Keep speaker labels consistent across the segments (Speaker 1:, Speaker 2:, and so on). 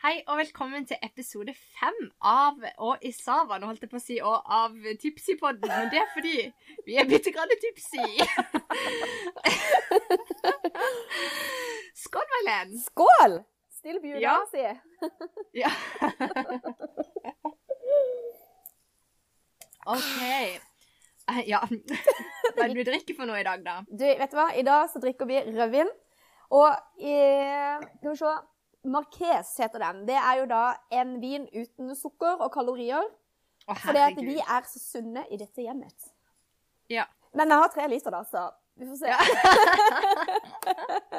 Speaker 1: Hei og velkommen til episode fem av Og i Savan, holdt jeg på å si, og av Tipsy-podden. Men det er fordi vi er bitte grann tipsy. Skål, Mailen.
Speaker 2: Skål! Still beauty,
Speaker 1: Ja.
Speaker 2: si.
Speaker 1: Ja. OK. Eh, Ja. Hva er det du drikker for noe i dag, da?
Speaker 2: Du, vet du hva? I dag så drikker vi rødvin. Og eh, skal vi se Marques heter den. Det er jo da en vin uten sukker og kalorier.
Speaker 1: Å,
Speaker 2: Fordi at vi er så sunne i dette hjemmet.
Speaker 1: Ja.
Speaker 2: Men jeg har tre liter, da, så vi får se.
Speaker 1: Ja.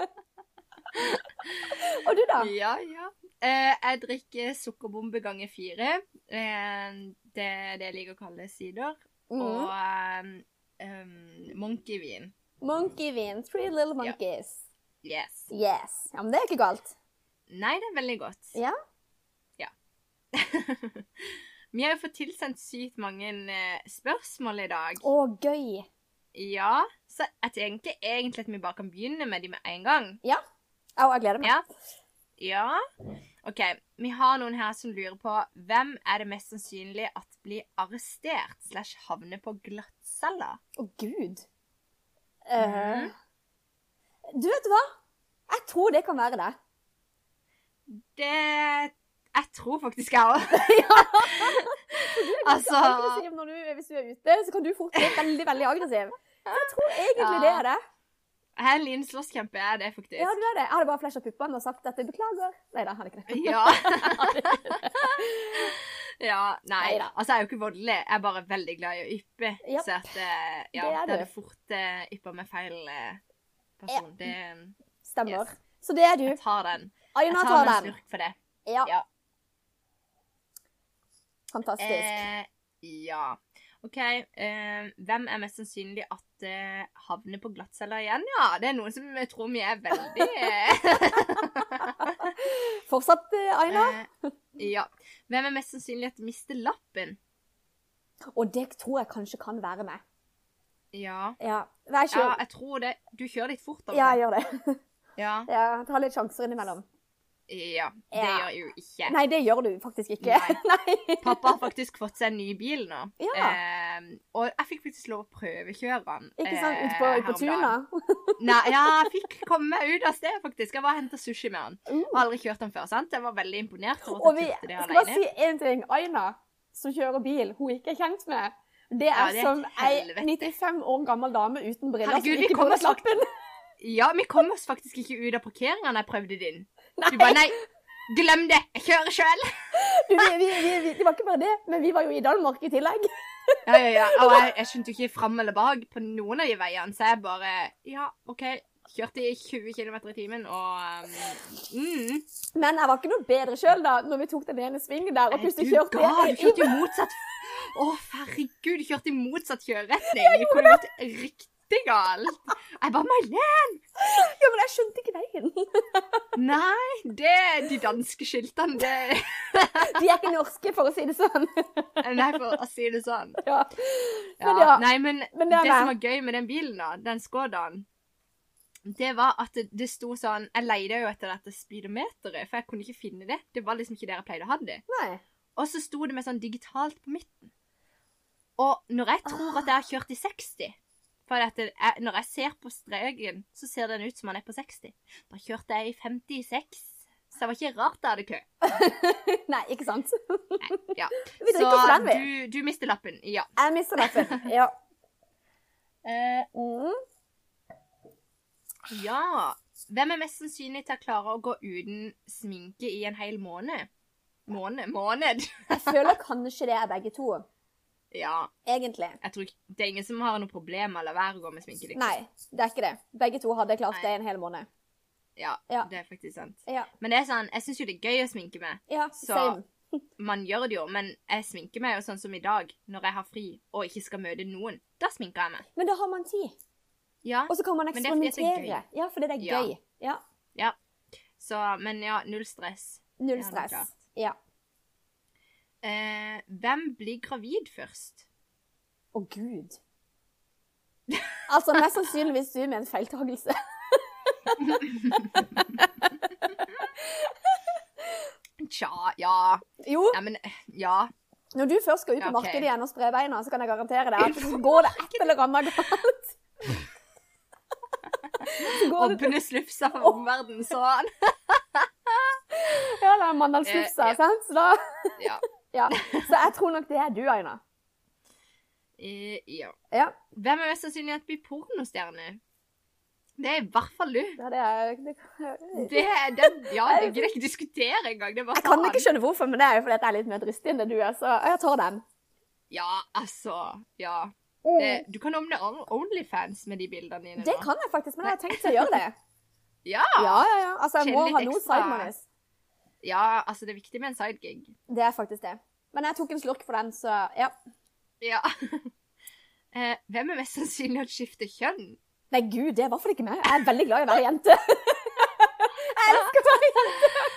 Speaker 2: og du, da?
Speaker 1: Ja, ja. Eh, jeg drikker sukkerbombe ganger fire. Eh, det er det jeg liker å kalle sider.
Speaker 2: Mm.
Speaker 1: Og eh, um, monkeyvin.
Speaker 2: Monkeyvin. Three little monkeys.
Speaker 1: Yes.
Speaker 2: Yes. Ja, men det er ikke galt.
Speaker 1: Nei, det er veldig godt.
Speaker 2: Ja.
Speaker 1: Ja. Vi har jo fått tilsendt sykt mange eh, spørsmål i dag.
Speaker 2: Å, gøy.
Speaker 1: Ja, så jeg tenker egentlig at vi bare kan begynne med de med en gang.
Speaker 2: Au, jeg gleder meg.
Speaker 1: Ja. ja. OK. Vi har noen her som lurer på hvem er det mest sannsynlig at blir arrestert slash havner på glattcella?
Speaker 2: Å, gud.
Speaker 1: Mhm.
Speaker 2: Eh, Du vet hva? Jeg tror det kan være det.
Speaker 1: Det Jeg tror faktisk jeg òg. Altså-
Speaker 2: Aggressiv når du, hvis du er ute, så kan du fort bli veldig veldig aggressiv. Så jeg tror egentlig
Speaker 1: Ja.
Speaker 2: det er det.
Speaker 1: Jeg er en liten slåsskjempe, jeg er det faktisk.
Speaker 2: Ja, du er det. Jeg hadde bare flasha puppene og sagt dette. Beklager. Nei da, hadde ikke det.
Speaker 1: Ja. ja. Nei da.
Speaker 2: Neida.
Speaker 1: Altså, jeg er jo ikke voldelig. Jeg er bare veldig glad i å yppe.
Speaker 2: Japp.
Speaker 1: Så at eh, Ja,
Speaker 2: Det er
Speaker 1: det
Speaker 2: du.
Speaker 1: er det fort eh, yppa med feil eh, person. Det,
Speaker 2: Stemmer.
Speaker 1: Yes.
Speaker 2: Så det er du.
Speaker 1: jeg tar den. Jeg
Speaker 2: Aina
Speaker 1: tar
Speaker 2: tar
Speaker 1: meg en
Speaker 2: den.
Speaker 1: slurk for det.
Speaker 2: Ja.
Speaker 1: Ja.
Speaker 2: Fantastisk.
Speaker 1: Eh, ja. OK. Eh, hvem er mest sannsynlig at eh, havner på glattcella igjen? Ja, det er noen som eh, tror vi er veldig eh,
Speaker 2: Fortsatt, eh, Aina.
Speaker 1: eh, Ja. Hvem er mest sannsynlig at mister lappen?
Speaker 2: Og det tror jeg kanskje kan være meg.
Speaker 1: Ja.
Speaker 2: Ja. Vær
Speaker 1: ja,
Speaker 2: kjør.
Speaker 1: jeg tror det. Du kjører litt fort,
Speaker 2: Ja, jeg gjør det.
Speaker 1: Ja.
Speaker 2: Ja, ta litt sjanser innimellom.
Speaker 1: ja. Det
Speaker 2: Ja.
Speaker 1: gjør jeg jo ikke.
Speaker 2: Nei, det gjør du faktisk ikke. Nei.
Speaker 1: Pappa har faktisk fått seg en ny bil nå.
Speaker 2: Ja.
Speaker 1: Eh, og jeg fikk faktisk lov å prøvekjøre den.
Speaker 2: Ikke sant?
Speaker 1: eh,
Speaker 2: Ute på,
Speaker 1: her
Speaker 2: på
Speaker 1: om dagen.
Speaker 2: tunet.
Speaker 1: Nei, ja, jeg fikk komme meg ut av stedet, faktisk. Jeg var og henta sushi med han.
Speaker 2: Uh.
Speaker 1: Jeg har aldri kjørt den før, sant? Jeg var veldig imponert over
Speaker 2: Og
Speaker 1: at
Speaker 2: vi
Speaker 1: jeg turte det
Speaker 2: skal bare
Speaker 1: alene.
Speaker 2: si én ting. Aina, som kjører bil hun ikke er kjent med, det er,
Speaker 1: Ja, det er
Speaker 2: som
Speaker 1: et helvete.
Speaker 2: ei 95 år gammel dame uten briller
Speaker 1: Herregud,
Speaker 2: som
Speaker 1: vi
Speaker 2: ikke
Speaker 1: kommer
Speaker 2: holder lappen.
Speaker 1: Ja, vi kom oss faktisk ikke ut av parkeringa da jeg prøvde din. Du
Speaker 2: Nei,
Speaker 1: bare nei, glem det, jeg kjører sjøl.
Speaker 2: du, vi, vi, vi, vi, det var ikke bare det, men vi var jo i Danmark i tillegg.
Speaker 1: Ja, ja, ja. Og jeg, jeg skjønte jo ikke fram eller bak på noen av de veiene, så jeg bare ja, OK. Kjørte i 20 km i timen og um, mm.
Speaker 2: Men jeg var ikke noe bedre sjøl da når vi tok den ene svingen der og plutselig
Speaker 1: Du
Speaker 2: kjørte
Speaker 1: ga, du
Speaker 2: jeg
Speaker 1: kjørte i motsatt Å, herregud, du kjørte i motsatt kjøreretning. Du kunne gått riktig galt. Jeg bare Mailen!
Speaker 2: Ja, men jeg skjønte ikke veien.
Speaker 1: Nei, det de danske skiltene det,
Speaker 2: De er ikke norske, for å si det sånn.
Speaker 1: Nei, for å si det sånn.
Speaker 2: Ja.
Speaker 1: Ja.
Speaker 2: Men ja,
Speaker 1: Nei, men,
Speaker 2: men
Speaker 1: det,
Speaker 2: det er det.
Speaker 1: som var gøy med den bilen, da, den Skodaen, det var at det, det sto sånn Jeg leide jo etter dette speedometeret, for jeg kunne ikke finne det. Det var liksom ikke der jeg pleide å ha det.
Speaker 2: Nei.
Speaker 1: Og så sto det med sånn digitalt på midten. Og når jeg tror at jeg har kjørt i 60 for at det er- Når jeg ser på streken, så ser den ut som han er på 60. Da kjørte jeg i 56, så det var ikke rart jeg hadde kø.
Speaker 2: Nei, ikke sant?
Speaker 1: Ja.
Speaker 2: Vi drikker oss den, vi.
Speaker 1: du, du mister lappen. Ja.
Speaker 2: Jeg mister lappen. Ja.
Speaker 1: Eh,
Speaker 2: Mm.
Speaker 1: ja. Hvem er mest sannsynlig til å klare å gå uten sminke i en hel måned? Måned? Måned?
Speaker 2: Jeg føler kanskje det er begge to,
Speaker 1: Ja.
Speaker 2: egentlig.
Speaker 1: Jeg tror ikke, det er ingen som har noe problem med å la være å gå med sminke. Liksom.
Speaker 2: Nei, det er ikke det. Begge to hadde klart
Speaker 1: Nei.
Speaker 2: det i en hel måned.
Speaker 1: Ja,
Speaker 2: Ja.
Speaker 1: det er faktisk sant.
Speaker 2: Ja,
Speaker 1: Men det er sånn, jeg syns jo det er gøy å sminke meg.
Speaker 2: ja
Speaker 1: Så-
Speaker 2: same.
Speaker 1: Man gjør det jo, men jeg sminker meg jo sånn som i dag, når jeg har fri og ikke skal møte noen. Da sminker jeg meg.
Speaker 2: Men da har man tid,
Speaker 1: Ja.
Speaker 2: og så kan man
Speaker 1: Men det er fordi det er
Speaker 2: eksperimentere. Ja, fordi det er
Speaker 1: Ja.
Speaker 2: gøy. Ja.
Speaker 1: Så, men ja, null stress. Ja,
Speaker 2: Null
Speaker 1: det er
Speaker 2: stress.
Speaker 1: klart.
Speaker 2: Ja.
Speaker 1: Eh, hvem blir gravid først?
Speaker 2: Å, gud. Altså, mest sannsynligvis du med en feiltagelse.
Speaker 1: Tja, ja.
Speaker 2: Jo,
Speaker 1: Ja, men eh, Ja.
Speaker 2: når du først skal ut på
Speaker 1: Ja, ok.
Speaker 2: markedet igjen og spre beina, så kan jeg garantere deg at går det et eller annet galt. Så går det,
Speaker 1: Åpne slufsa for omverdenen, sånn.
Speaker 2: ja, det er
Speaker 1: Eh,
Speaker 2: mandelsflufsa,
Speaker 1: ja.
Speaker 2: sant? Så, da,
Speaker 1: Ja.
Speaker 2: ja. så jeg tror nok det er du, Aina.
Speaker 1: Eh, ja.
Speaker 2: Ja,
Speaker 1: Hvem er mest sannsynlig at blir pornostjerne? Det er i hvert fall du.
Speaker 2: ja, det er, det,
Speaker 1: Det er den Ja, det gidder jeg ikke diskutere engang. Det er bare
Speaker 2: eh, jeg kan
Speaker 1: faen.
Speaker 2: ikke skjønne hvorfor, men det er jo fordi at jeg er litt mer dristig enn det du er, så jeg tar den.
Speaker 1: Ja, altså. Ja.
Speaker 2: Det,
Speaker 1: Det, du kan omne Onlyfans med de bildene dine. nå.
Speaker 2: Mm. kan jeg faktisk, men jeg har tenkt til å gjøre det.
Speaker 1: Ja.
Speaker 2: Ja, ja, ja. Altså, jeg
Speaker 1: Tjene
Speaker 2: må
Speaker 1: litt
Speaker 2: ha noe
Speaker 1: ekstra.
Speaker 2: sidemonies.
Speaker 1: ja, altså, det er viktig med en sidegig.
Speaker 2: Det er faktisk det. Men jeg tok en slurk for den, så ja.
Speaker 1: Ja. Eh, hvem er mest sannsynlig at skifter kjønn?
Speaker 2: Nei, gud, det var for ikke meg. Jeg er veldig glad i å være jente. Jeg elsker å være jente.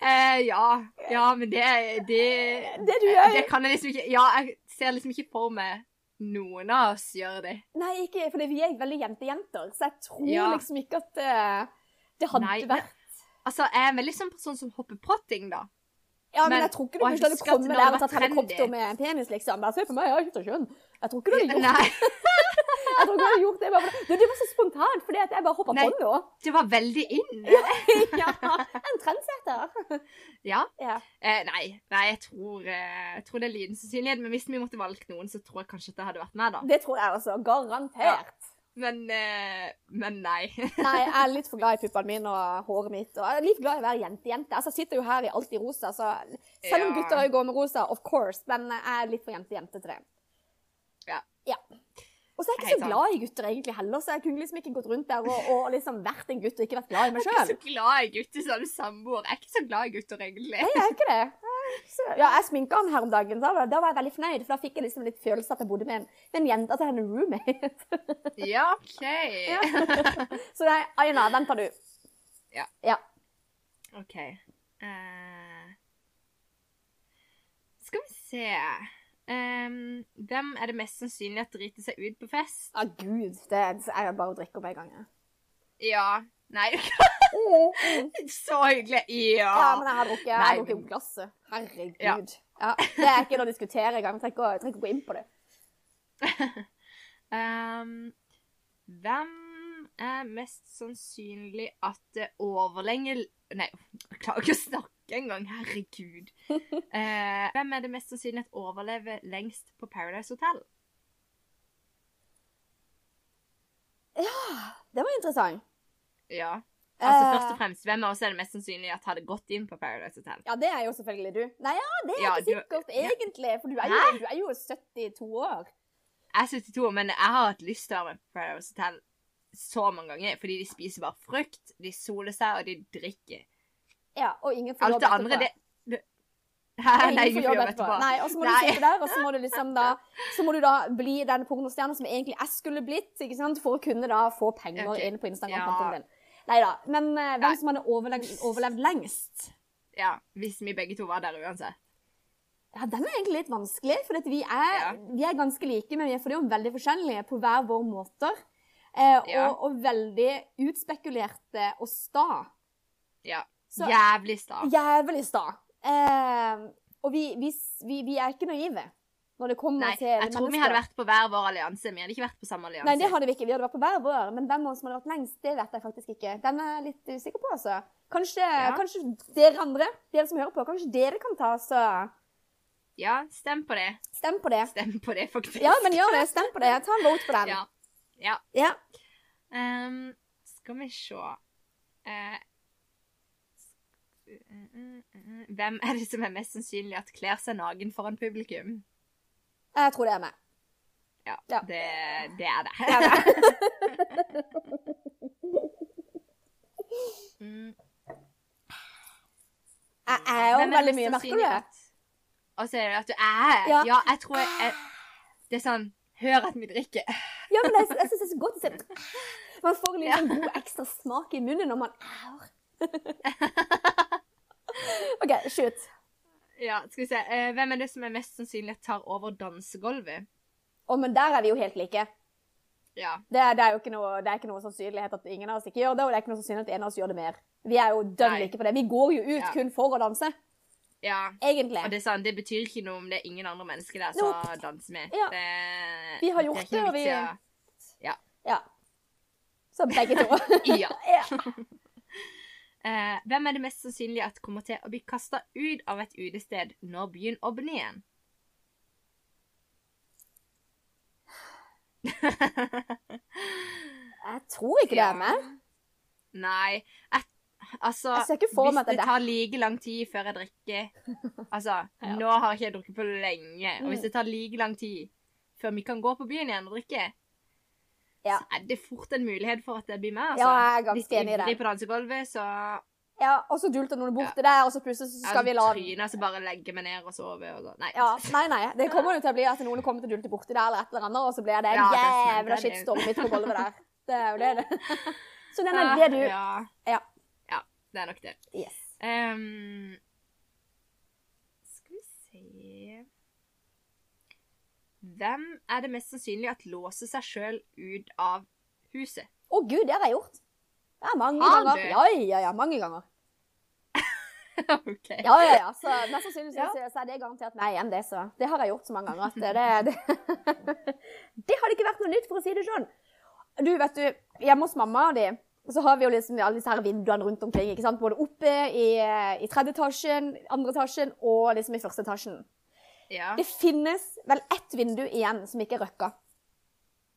Speaker 1: Eh, ja. Ja, men det det,
Speaker 2: Det du gjør.
Speaker 1: det kan jeg liksom ikke Ja, jeg ser liksom ikke for meg noen av oss gjør det.
Speaker 2: Nei, ikke, fordi vi er veldig jentejenter, så jeg tror
Speaker 1: Ja.
Speaker 2: liksom ikke at eh, det hadde
Speaker 1: Nei, men-
Speaker 2: vært
Speaker 1: Altså, jeg er veldig sånn person som hopper på ting, da.
Speaker 2: Ja, men,
Speaker 1: men-
Speaker 2: jeg tror ikke du
Speaker 1: og jeg
Speaker 2: plutselig hadde
Speaker 1: husker at
Speaker 2: kommet
Speaker 1: når
Speaker 2: der
Speaker 1: det
Speaker 2: og tatt
Speaker 1: var
Speaker 2: helikopter
Speaker 1: trendy.
Speaker 2: med en penis, liksom. Bare se på meg, jeg har ikke tatt kjønn. Jeg tror ikke du hadde gjort,
Speaker 1: Nei,
Speaker 2: jeg tror ikke du hadde gjort det. Bare, for- det, det var så spontant, fordi at jeg bare hoppa på
Speaker 1: Nei.
Speaker 2: nå.
Speaker 1: det var veldig in.
Speaker 2: Ja, en trendsetter.
Speaker 1: Ja.
Speaker 2: Ja.
Speaker 1: Eh, nei, nei jeg, tror, eh, jeg tror det er liten sannsynlighet, men hvis vi måtte valgt noen, så tror jeg kanskje at det hadde vært meg, da.
Speaker 2: Det tror jeg også. Garantert.
Speaker 1: Men, eh, men nei.
Speaker 2: Nei, jeg er litt for glad i puppene mine og håret mitt. Og jeg er litt glad i å være jente-jente. Altså, jeg sitter jo her i alt i rosa, så selv
Speaker 1: Ja.
Speaker 2: om gutter òg går med rosa, of course, men jeg er litt for jente-jente til det.
Speaker 1: Ja.
Speaker 2: ja. Og så er jeg
Speaker 1: Helt
Speaker 2: ikke
Speaker 1: sant.
Speaker 2: så glad i gutter egentlig heller, så jeg kunne liksom ikke gått rundt der og, og liksom vært en gutt og ikke vært glad i meg
Speaker 1: Jeg er
Speaker 2: sjøl.
Speaker 1: ikke så glad i gutter som samboer. Jeg er ikke så glad i gutter, egentlig.
Speaker 2: Nei, jeg er ikke det. Så, ja, jeg sminka han her om dagen, da, var- da var jeg veldig fornøyd, for da fikk jeg liksom litt følelse at jeg bodde med en, med en jente til henne roommate.
Speaker 1: Ja, OK.
Speaker 2: Ja. Så nei, Aina, den tar du.
Speaker 1: Ja.
Speaker 2: ja.
Speaker 1: OK. Eh, skal vi se Em, Hvem er det mest sannsynlig at driter seg ut på fest?
Speaker 2: Å, gud. Det er jeg bare å drikke opp en gang. jeg.
Speaker 1: Ja. Nei,
Speaker 2: Mm.
Speaker 1: så hyggelig. Ja.
Speaker 2: Ja, men jeg har drukket, jeg har
Speaker 1: Nei,
Speaker 2: drukket
Speaker 1: men-
Speaker 2: opp glasset. Herregud. Ja.
Speaker 1: Ja.
Speaker 2: det er ikke noe å diskutere engang. Jeg trenger ikke å- jeg trenger ikke å gå inn på det.
Speaker 1: Ehm, hvem er mest sannsynlig at det overlenge... Nei, jeg klarer ikke å snakke engang. Herregud. Eh, hvem er det mest sannsynlig at overlever lengst på Paradise Hotel?
Speaker 2: Det var interessant.
Speaker 1: Ja. Altså
Speaker 2: Eh,
Speaker 1: Først og fremst, hvem av oss er det mest sannsynlig at hadde gått inn på Paradise Hotel?
Speaker 2: Ja, det er jo selvfølgelig du. Nei, ja, det er
Speaker 1: Ja,
Speaker 2: ikke
Speaker 1: du-
Speaker 2: sikkert egentlig, for du er, jo, du er jo 72 år.
Speaker 1: Jeg er 72, men jeg har hatt lyst til å være med på Paradise Hotel så mange ganger. Fordi de spiser bare frukt, de soler seg, og de drikker.
Speaker 2: Ja, og ingen får
Speaker 1: Alt
Speaker 2: jobb
Speaker 1: det andre, det, det... Hæ?
Speaker 2: Ja,
Speaker 1: Nei,
Speaker 2: ingen får jobb etterpå. Nei, og så må du
Speaker 1: Nei.
Speaker 2: sitte der, og så må du liksom da, så må du da bli den pornostjerna som egentlig jeg skulle blitt, ikke sant? For å kunne da få penger
Speaker 1: Ok.
Speaker 2: inn på
Speaker 1: Ja.
Speaker 2: Instagram-kontoen din. Neida, men eh,
Speaker 1: Nei.
Speaker 2: hvem som hadde overlevd, overlevd lengst?
Speaker 1: Ja, hvis vi begge to var der uansett.
Speaker 2: Ja, den er egentlig litt vanskelig, for at vi, er,
Speaker 1: Ja.
Speaker 2: vi er ganske like, men vi er for det jo veldig forskjellige på hver vår måter. Eh,
Speaker 1: Ja.
Speaker 2: og, og veldig utspekulerte og sta.
Speaker 1: Ja.
Speaker 2: Så
Speaker 1: Jævlig sta.
Speaker 2: jævlig sta. Eh, og vi, vi, s- vi, vi er ikke naive når det kommer
Speaker 1: Nei,
Speaker 2: til
Speaker 1: jeg tror vi hadde vært
Speaker 2: mennesker.
Speaker 1: på hver vår allianse. Vi hadde ikke vært på samme allianse.
Speaker 2: Nei, det hadde vi ikke. Vi hadde vært på hver vår, men hvem av oss som hadde vært lengst, det vet jeg faktisk ikke. Den er jeg litt usikker på, altså. Kanskje,
Speaker 1: Ja.
Speaker 2: kanskje dere andre, dere som hører på, kanskje dere kan ta oss og
Speaker 1: Ja, stem på det.
Speaker 2: stemme på det.
Speaker 1: Stem på det, faktisk.
Speaker 2: Ja, men gjør det. Stem på det. Ta en vote på den.
Speaker 1: Ja. Ja.
Speaker 2: Ja.
Speaker 1: Ehm, skal vi se Eh, sk- eh, eh, eh, Hvem er det som er mest sannsynlig at kler seg naken foran publikum?
Speaker 2: Jeg tror det er meg.
Speaker 1: Ja,
Speaker 2: Ja.
Speaker 1: Det, det er det.
Speaker 2: Det er meg.
Speaker 1: Mm.
Speaker 2: Jeg er jo
Speaker 1: Hvem
Speaker 2: veldig
Speaker 1: mest
Speaker 2: mye, merker du
Speaker 1: sannsynlig
Speaker 2: det?
Speaker 1: at- Og så er det at du er
Speaker 2: Ja.
Speaker 1: Ja, jeg tror jeg, jeg Det er sånn Hør at vi drikker.
Speaker 2: Ja, men jeg, jeg synes det er så godt å se. Man får en liten sånn god ekstra smak i munnen når man er. OK, shoot.
Speaker 1: Ja, skal vi se. Eh, hvem er det som er mest sannsynlig at tar over dansegulvet?
Speaker 2: Å, men der er vi jo helt like.
Speaker 1: Ja.
Speaker 2: Det, det, er jo ikke noe, det er ikke noe sannsynlighet at ingen av oss ikke gjør det, og det er ikke noe sannsynlighet at en av oss gjør det mer. Vi er jo dønn
Speaker 1: Nei.
Speaker 2: like på det. Vi går jo ut
Speaker 1: Ja.
Speaker 2: kun for å danse,
Speaker 1: ja.
Speaker 2: egentlig.
Speaker 1: Og det, er sånn, det betyr ikke noe om det er ingen andre mennesker der som
Speaker 2: Nope.
Speaker 1: danser med.
Speaker 2: Ja.
Speaker 1: Det,
Speaker 2: Vi har
Speaker 1: det er
Speaker 2: gjort
Speaker 1: ikke
Speaker 2: det,
Speaker 1: noe
Speaker 2: og vi-
Speaker 1: vits
Speaker 2: Ja. Så begge to.
Speaker 1: i å- Ja.
Speaker 2: ja.
Speaker 1: Eh, hvem er det mest sannsynlig at kommer til å bli kasta ut av et utested når byen åpner igjen?
Speaker 2: Jeg tror ikke det er meg.
Speaker 1: Nei. Jeg, altså,
Speaker 2: Jeg ser ikke for meg at
Speaker 1: hvis
Speaker 2: det
Speaker 1: det
Speaker 2: er
Speaker 1: tar like lang tid før jeg drikker Altså,
Speaker 2: Ja.
Speaker 1: nå har ikke jeg drukket på lenge, og
Speaker 2: Mm.
Speaker 1: hvis det tar like lang tid før vi kan gå på byen igjen og drikke,
Speaker 2: Ja.
Speaker 1: så er det fort en mulighet for at det blir meg.
Speaker 2: Ja,
Speaker 1: Altså.
Speaker 2: jeg er
Speaker 1: hvis
Speaker 2: ganske enig i det.
Speaker 1: ivrig på dansegulvet, så
Speaker 2: Ja, og så dulter noen borti der, og så plutselig så skal vi la
Speaker 1: tryner så bare legger meg ned og sover og går. Nei.
Speaker 2: Ja, nei, nei. Det kommer jo til å bli at noen kommer til å dulte borti der, eller et eller annet, og så blir det en
Speaker 1: Ja, det er sant,
Speaker 2: jævla
Speaker 1: det er det.
Speaker 2: shitstorm midt på gulvet der. Det er jo det det. Så den er det du
Speaker 1: Ja.
Speaker 2: Ja.
Speaker 1: ja. Det er nok det.
Speaker 2: Yes.
Speaker 1: Ehm, skal vi se Hvem er det mest sannsynlig at låser seg sjøl ut av huset?
Speaker 2: Å gud, det har jeg gjort. Ja, mange
Speaker 1: Har
Speaker 2: ganger.
Speaker 1: du?
Speaker 2: Ja, ja, ja, mange ganger.
Speaker 1: OK.
Speaker 2: Ja, ja, ja. Så mest sannsynlig så,
Speaker 1: Ja.
Speaker 2: så er det garantert meg igjen, det. Så det har jeg gjort så mange ganger at det Det, det hadde ikke vært noe nytt, for å si det sånn. Du, vet du, hjemme hos mamma og de, så har vi jo liksom alle disse her vinduene rundt omkring. ikke sant? Både oppe i, i tredje etasjen, andre etasjen og liksom i første etasjen.
Speaker 1: Ja.
Speaker 2: Det finnes vel ett vindu igjen som ikke er røkka.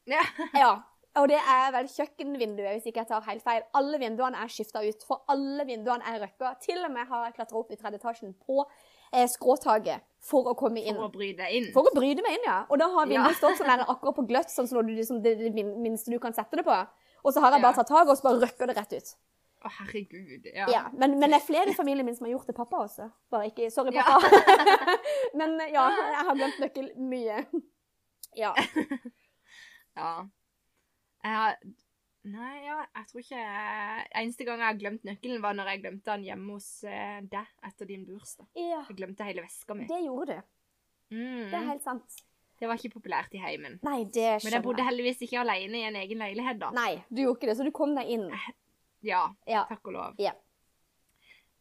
Speaker 1: Ja.
Speaker 2: Ja, og det er vel kjøkkenvinduet, hvis ikke jeg tar helt feil. Alle vinduene er skifta ut, for alle vinduene er røkka. Til og med har jeg klatra opp i tredje etasjen på eh, skråtaket for å komme inn.
Speaker 1: For å bry deg inn.
Speaker 2: For å bryte meg inn, ja. Og da har vinduet
Speaker 1: Ja.
Speaker 2: stått sånn der akkurat på gløtt, sånn som når du, liksom, det, det min- minste du kan sette det på. Og så har jeg bare
Speaker 1: Ja.
Speaker 2: tatt tak, og så bare røkker det rett ut.
Speaker 1: Å, herregud.
Speaker 2: Ja.
Speaker 1: Ja.
Speaker 2: men, men det er flere i familien min som har gjort det, pappa også. Bare ikke Sorry,
Speaker 1: Ja.
Speaker 2: pappa. men eh, ja, jeg har glemt nøkkel mye. Ja.
Speaker 1: ja. Jeg har Nei, ja, jeg tror ikke jeg- Eneste gang jeg har glemt nøkkelen, var når jeg glemte den hjemme hos eh, deg etter din bursdag.
Speaker 2: ja.
Speaker 1: Jeg glemte hele veska mi.
Speaker 2: Det gjorde du. Det er
Speaker 1: Mm.
Speaker 2: helt sant.
Speaker 1: Det var ikke populært i heimen.
Speaker 2: Nei, det
Speaker 1: Men jeg
Speaker 2: skjønner
Speaker 1: bodde
Speaker 2: jeg.
Speaker 1: heldigvis ikke alene i en egen leilighet, da.
Speaker 2: Nei, du gjorde ikke det, så du kom deg inn.
Speaker 1: Ja,
Speaker 2: Ja.
Speaker 1: takk og lov.
Speaker 2: Ja.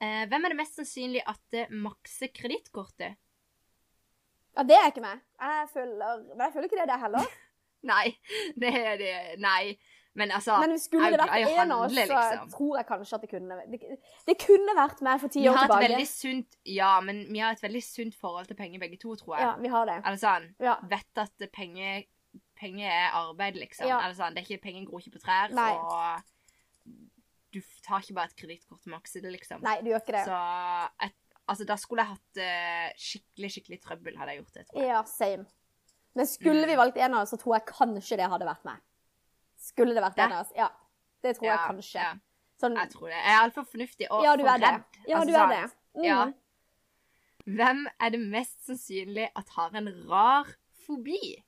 Speaker 1: Eh, hvem er det mest sannsynlig at det makser kredittkortet?
Speaker 2: Ja, det er ikke meg. Jeg føler Men jeg føler ikke det der heller.
Speaker 1: Nei, det er det Nei. Men altså
Speaker 2: Men skulle det
Speaker 1: jeg er glad i
Speaker 2: vært
Speaker 1: å
Speaker 2: en av oss,
Speaker 1: handle,
Speaker 2: så
Speaker 1: liksom.
Speaker 2: tror jeg kanskje at det kunne Det, det kunne vært meg for ti
Speaker 1: Vi
Speaker 2: år
Speaker 1: har et
Speaker 2: tilbake.
Speaker 1: veldig sunt Ja, men vi har et veldig sunt forhold til penger, begge to, tror jeg.
Speaker 2: Ja, vi har det.
Speaker 1: Eller sånn
Speaker 2: Ja.
Speaker 1: Vet at penger Penger er arbeid, liksom.
Speaker 2: Ja.
Speaker 1: Eller sånn, det er ikke, Penger gror ikke på trær,
Speaker 2: Nei.
Speaker 1: og du tar ikke bare et kredittkort og makser det, liksom.
Speaker 2: Nei, du gjør ikke det.
Speaker 1: Så et, altså, da skulle jeg hatt eh, skikkelig, skikkelig trøbbel, hadde jeg gjort det, tror jeg.
Speaker 2: Ja, same. Men skulle vi valgt en av oss, så tror jeg kanskje det hadde vært meg. Skulle det vært
Speaker 1: Det?
Speaker 2: en av oss. Ja. Det tror jeg kanskje.
Speaker 1: Ja,
Speaker 2: Sånn
Speaker 1: jeg tror det. Jeg er altfor fornuftig og
Speaker 2: Ja, du
Speaker 1: for
Speaker 2: er det.
Speaker 1: redd.
Speaker 2: Ja,
Speaker 1: Altså,
Speaker 2: du er
Speaker 1: sånn,
Speaker 2: det. Mm.
Speaker 1: Ja. Hvem er det mest sannsynlig at har en rar fobi?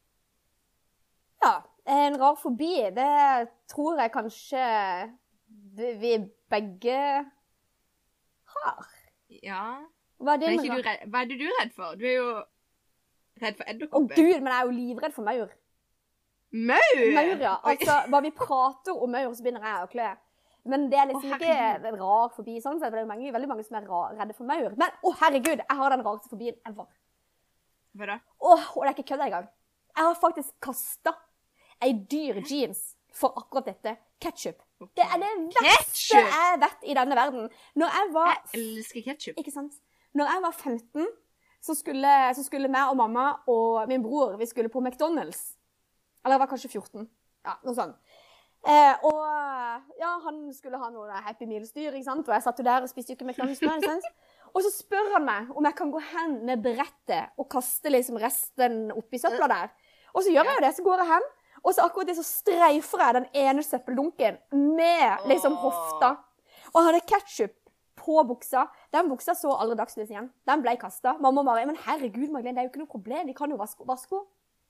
Speaker 2: Ja, en rar fobi, det tror jeg kanskje vi vi begge har.
Speaker 1: Ja.
Speaker 2: Hva er
Speaker 1: Men er
Speaker 2: din
Speaker 1: ikke
Speaker 2: rar-
Speaker 1: du redd, hva er det du er redd for? Du er jo redd for
Speaker 2: Å
Speaker 1: edderkopper.
Speaker 2: gud, men jeg er jo livredd for maur.
Speaker 1: Maur!
Speaker 2: Maur, ja.
Speaker 1: Oi.
Speaker 2: Altså, hva vi prater om maur, så begynner jeg å klø. Men det er liksom
Speaker 1: Å,
Speaker 2: ikke en rar fobi sånn sett, for det er jo mange, veldig mange som er ra- redde for maur. Men å herregud, jeg har den rareste fobien ever.
Speaker 1: Hva da?
Speaker 2: Åh, og det er ikke kødd engang. Jeg har faktisk kasta ei dyr jeans for akkurat dette. Ketchup. Det er det verste
Speaker 1: Ketchup!
Speaker 2: jeg vet i denne verden. Når jeg var
Speaker 1: Jeg elsker ketsjup.
Speaker 2: Ikke sant? Når jeg var 15, så skulle, så skulle meg og mamma og min bror vi skulle på McDonald's. Eller jeg var kanskje 14. Ja, noe sånt. Eh, og ja, han skulle ha noe Happy Meal-styr, ikke sant? og jeg satt jo der og spiste jo ikke McDonald's. med, ikke sant? Og så spør han meg om jeg kan gå hen med brettet og kaste liksom resten oppi søpla der. Og så gjør jeg jo det, så går jeg hen, og så akkurat det så streifer jeg den ene søppeldunken med liksom
Speaker 1: Åh.
Speaker 2: hofta. Og han hadde ketsjup på buksa. Den buksa så aldri dagslys igjen. Den ble kasta. Mamma og Mari, men herregud, Magdalene, det er jo ikke noe problem. Vi kan jo vaske vaske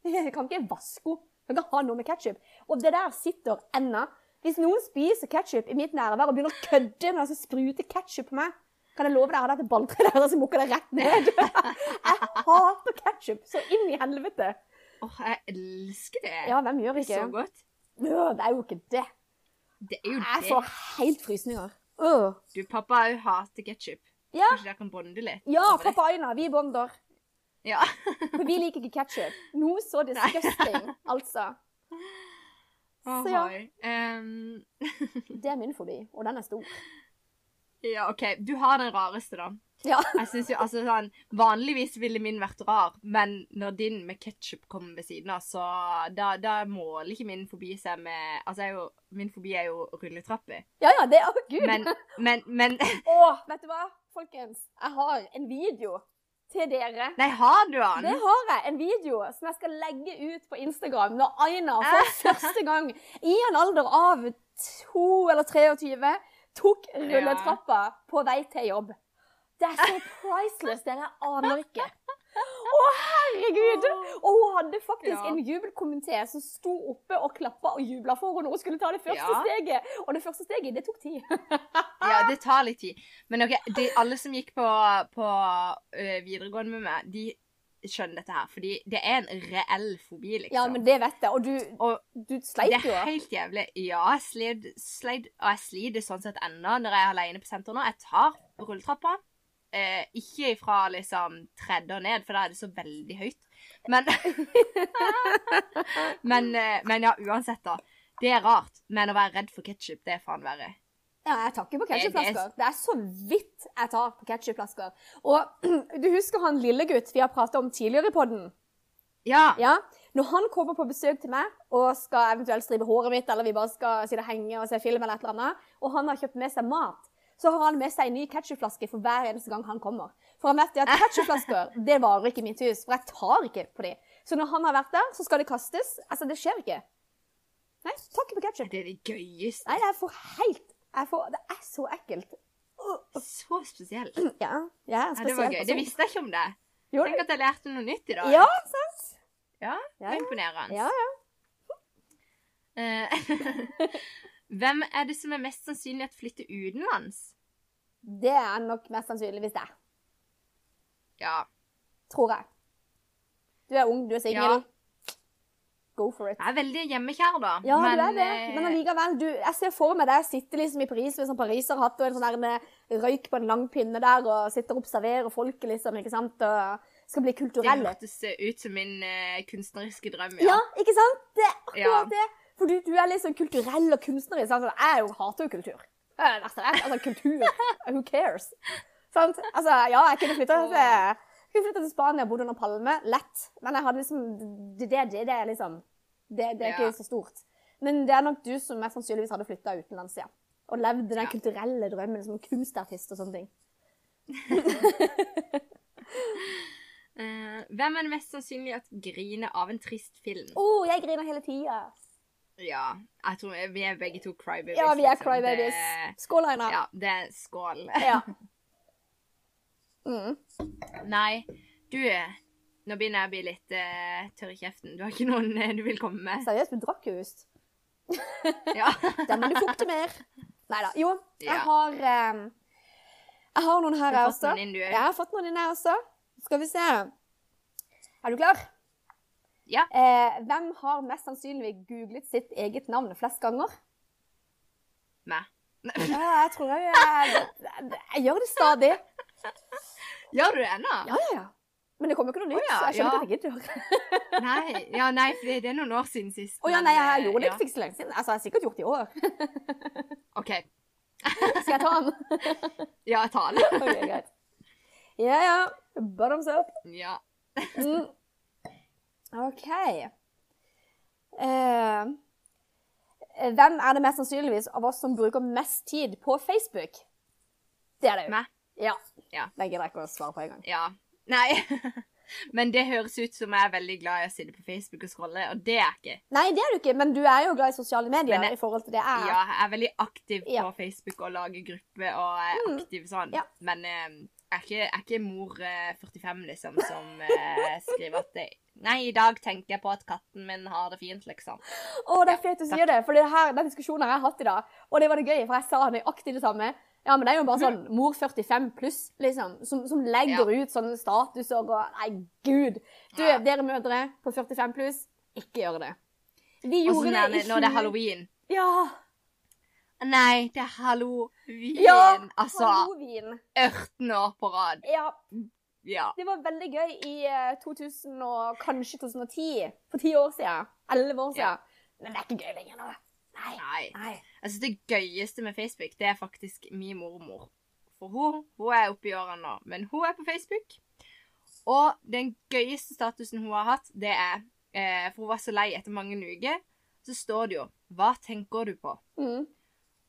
Speaker 2: henne. Vi kan ikke vaske henne. Vi kan ikke ha noe med ketsjup. Og det der sitter ennå. Hvis noen spiser ketsjup i mitt nærvær og begynner å kødde med den som spruter ketsjup på meg, kan jeg love deg at dette balltreet deres så mukker det rett ned. Jeg hater ketsjup så inn i helvete.
Speaker 1: Åh, jeg elsker det.
Speaker 2: Ja, hvem gjør
Speaker 1: det er
Speaker 2: ikke
Speaker 1: så godt.
Speaker 2: Øh, det er jo ikke det.
Speaker 1: Det er jo
Speaker 2: Jeg
Speaker 1: det.
Speaker 2: får helt frysninger. Øh.
Speaker 1: Du, pappa òg hater ketsjup.
Speaker 2: Ja.
Speaker 1: Kanskje dere kan bonde litt?
Speaker 2: Ja,
Speaker 1: over det?
Speaker 2: pappa Aina, vi bonder.
Speaker 1: Ja.
Speaker 2: For vi liker ikke ketsjup. Noe så disgusting, altså. Så ja.
Speaker 1: Ahoi. Ehm,
Speaker 2: Det er min fobi, og den er stor.
Speaker 1: ja, OK. Du har den rareste, da.
Speaker 2: Ja.
Speaker 1: Jeg synes jo, altså sånn, Vanligvis ville min vært rar, men når din med ketsjup kommer ved siden av, så da, da måler ikke min fobi seg med Altså, jeg er jo, min fobi er jo rulletrapper.
Speaker 2: Ja, ja, det Å, gud!
Speaker 1: Men, men, men
Speaker 2: Å, vet du hva, folkens? Jeg har en video til dere.
Speaker 1: Nei, har du
Speaker 2: Det
Speaker 1: den?
Speaker 2: har jeg. En video som jeg skal legge ut på Instagram når Aina
Speaker 1: Ah.
Speaker 2: for første gang, i en alder av to eller 23, tok rulletrappa på vei til jobb. Det er så priceless, dere aner ikke. Å, herregud! Og hun hadde faktisk
Speaker 1: Ja.
Speaker 2: en jubelkomité som sto oppe og klappa og jubla for henne. Hun skulle ta det første
Speaker 1: Ja.
Speaker 2: steget, og det første steget, det tok tid.
Speaker 1: Ja, det tar litt tid. Men ok, de, alle som gikk på, på ø, videregående med meg, de skjønner dette her. Fordi det er en reell fobi, liksom.
Speaker 2: Ja, men det vet jeg. Og du,
Speaker 1: Og
Speaker 2: du sleit
Speaker 1: Det
Speaker 2: jo.
Speaker 1: er helt jævlig. Ja, jeg slid, slid, og jeg sliter sånn sett ennå når jeg er alene på senteret nå. Jeg tar rulletrappa. Eh, ikke fra liksom tredje og ned, for da er det så veldig høyt. Men men, eh, men ja, uansett, da. Det er rart. Men å være redd for ketsjup, det er faen verre.
Speaker 2: Ja, jeg tar ikke på
Speaker 1: Det
Speaker 2: ketsjupflasker. Det er så vidt jeg tar på ketsjupflasker. Og du husker han lille gutt vi har prata om tidligere i podden?
Speaker 1: Ja.
Speaker 2: Ja. Når han kommer på besøk til meg og skal eventuelt stripe håret mitt, eller vi bare skal sitte og henge og se film eller et eller annet, og han har kjøpt med seg mat, så har han med seg en ny ketsjupflaske for hver eneste gang han kommer. For han vet det at ketsjupflasker det varer ikke i mitt hus, for jeg tar ikke på de. Så når han har vært der, så skal de kastes. Altså, det skjer ikke. Nei, tar ikke på ketsjup.
Speaker 1: Det er det gøyeste.
Speaker 2: Nei, jeg får helt jeg får, Det er så ekkelt.
Speaker 1: Så spesielt.
Speaker 2: Ja, jeg
Speaker 1: Ja,
Speaker 2: er en
Speaker 1: det var
Speaker 2: spesiell
Speaker 1: gøy. Det
Speaker 2: person.
Speaker 1: visste jeg ikke om deg.
Speaker 2: Jo,
Speaker 1: Tenk at jeg lærte noe nytt i dag.
Speaker 2: ja, sant?
Speaker 1: Ja, det
Speaker 2: Ja,
Speaker 1: var
Speaker 2: ja.
Speaker 1: imponerende.
Speaker 2: Ja, ja.
Speaker 1: Eh, Hvem er det som er mest sannsynlig at flytter utenlands?
Speaker 2: Det er nok mest sannsynligvis deg,
Speaker 1: Ja.
Speaker 2: tror jeg. Du er ung, du er singel.
Speaker 1: Ja.
Speaker 2: Go for it.
Speaker 1: Jeg er veldig hjemmekjær, da.
Speaker 2: Ja, du er det,
Speaker 1: eh,
Speaker 2: men allikevel. Du, jeg ser for meg deg sitte liksom i Paris med en sånn pariserhatt og en sånn der med røyk på en lang pinne der, og sitter og observerer folket, liksom, ikke sant? Og skal bli
Speaker 1: det
Speaker 2: kulturell.
Speaker 1: hørtes eh, ut som min eh, kunstneriske drøm,
Speaker 2: Ja,
Speaker 1: ja.
Speaker 2: ikke sant? Det er
Speaker 1: Ja.
Speaker 2: akkurat det. For du, du er litt sånn kulturell og kunstnerisk. Sant? Sånn, Jeg jo hater jo kultur. Det er det verste jeg vet. Altså, kultur. Who cares? Sant? Altså, ja, jeg kunne flytta til, jeg kunne flyttet til Spania og bodd under palme. Lett. Men jeg hadde liksom Det, det, det, det er liksom det, det er ikke
Speaker 1: Ja.
Speaker 2: så stort. Men det er nok du som mest sannsynligvis hadde flytta utenlands, ja. Og levd den
Speaker 1: Ja.
Speaker 2: kulturelle drømmen som kunstartist og sånne ting.
Speaker 1: Eh, hvem er det mest sannsynlig at griner av en trist film?
Speaker 2: Å, jeg griner hele tida.
Speaker 1: Ja, jeg tror vi er begge to crybabies.
Speaker 2: Ja, vi er
Speaker 1: liksom.
Speaker 2: crybabies.
Speaker 1: Det-
Speaker 2: Skål, Aina.
Speaker 1: Ja, det er skål.
Speaker 2: Ja. Mm.
Speaker 1: Nei, du Nå begynner jeg å bli litt eh, tørr i kjeften. Du har ikke noen eh, du vil komme med?
Speaker 2: Seriøst, du drakk jo just.
Speaker 1: Ja.
Speaker 2: Den må du fukte mer. Nei da. Jo,
Speaker 1: Ja.
Speaker 2: jeg har eh, Jeg har noen her,
Speaker 1: Du har fått
Speaker 2: jeg også.
Speaker 1: noen inn, du.
Speaker 2: Jeg har fått noen inn, jeg også. Skal vi se. Er du klar?
Speaker 1: Ja.
Speaker 2: Eh, hvem har mest sannsynlig googlet sitt eget navn flest ganger?
Speaker 1: Meg.
Speaker 2: Ja, jeg tror jeg, jeg, jeg, gjør det stadig.
Speaker 1: Gjør du det ennå?
Speaker 2: Ja, ja, ja. Men det kommer jo ikke noe nytt.
Speaker 1: Å ja,
Speaker 2: så jeg
Speaker 1: ja.
Speaker 2: skjønner ikke at jeg gidder.
Speaker 1: Nei, ja, nei, for det- det er noen år siden sist.
Speaker 2: Å ja,
Speaker 1: men,
Speaker 2: nei, jeg
Speaker 1: eh,
Speaker 2: gjorde det
Speaker 1: ja.
Speaker 2: ikke fikk så lenge siden. Altså, jeg har sikkert gjort det i år.
Speaker 1: OK.
Speaker 2: Skal jeg ta den?
Speaker 1: Ja, jeg tar det.
Speaker 2: Ok, greit. Ja, ja. Bottoms up.
Speaker 1: Ja.
Speaker 2: Mm. OK. Eh, hvem er det mest sannsynligvis av oss som bruker mest tid på Facebook? Det er det jo.
Speaker 1: Meg.
Speaker 2: Ja.
Speaker 1: Ja.
Speaker 2: Den gidder jeg ikke å svare på engang.
Speaker 1: Ja. Nei. Men det høres ut som jeg er veldig glad i å sitte på Facebook og scrolle, og det er jeg ikke.
Speaker 2: Nei, det er du ikke, men du er jo glad i sosiale medier
Speaker 1: Men jeg-
Speaker 2: i forhold til det jeg er.
Speaker 1: Ja, jeg er veldig aktiv på
Speaker 2: Ja. Mm.
Speaker 1: Facebook og lager gruppe og er aktiv sånn,
Speaker 2: Ja.
Speaker 1: men eh, jeg er ikke, jeg er ikke mor eh, 45, liksom, som eh, skriver at det, Nei, i dag tenker jeg på at katten min har det fint, liksom.
Speaker 2: Å, det er fint du sier det, for det her, den diskusjonen har jeg hatt i dag. Og det var det gøy, for jeg sa nøyaktig det samme. Ja, men det er jo
Speaker 1: Mm.
Speaker 2: bare sånn mor 45 pluss, liksom, som, som legger ut sånne statuser og Nei, gud! Du,
Speaker 1: Ja.
Speaker 2: dere mødre på 45 pluss, ikke gjør det. Vi
Speaker 1: Og
Speaker 2: gjorde
Speaker 1: sånn
Speaker 2: det
Speaker 1: der,
Speaker 2: i 20...
Speaker 1: når det er halloween.
Speaker 2: Ja.
Speaker 1: Nei, det er halloween.
Speaker 2: Ja,
Speaker 1: altså,
Speaker 2: Halloween.
Speaker 1: 18 år på rad.
Speaker 2: Ja,
Speaker 1: Ja.
Speaker 2: det var veldig gøy i eh, 2000 og kanskje 2010. For ti år siden. Elleve år
Speaker 1: Ja.
Speaker 2: siden. Men det er ikke gøy lenger nå. Nei.
Speaker 1: Nei.
Speaker 2: Nei.
Speaker 1: Jeg synes det gøyeste med Facebook, det er faktisk min mormor. For hun, hun er oppe i årene nå, men hun er på Facebook. Og den gøyeste statusen hun har hatt, det er eh, For hun var så lei etter mange uker. Så står det jo 'Hva tenker du på?'
Speaker 2: Mm.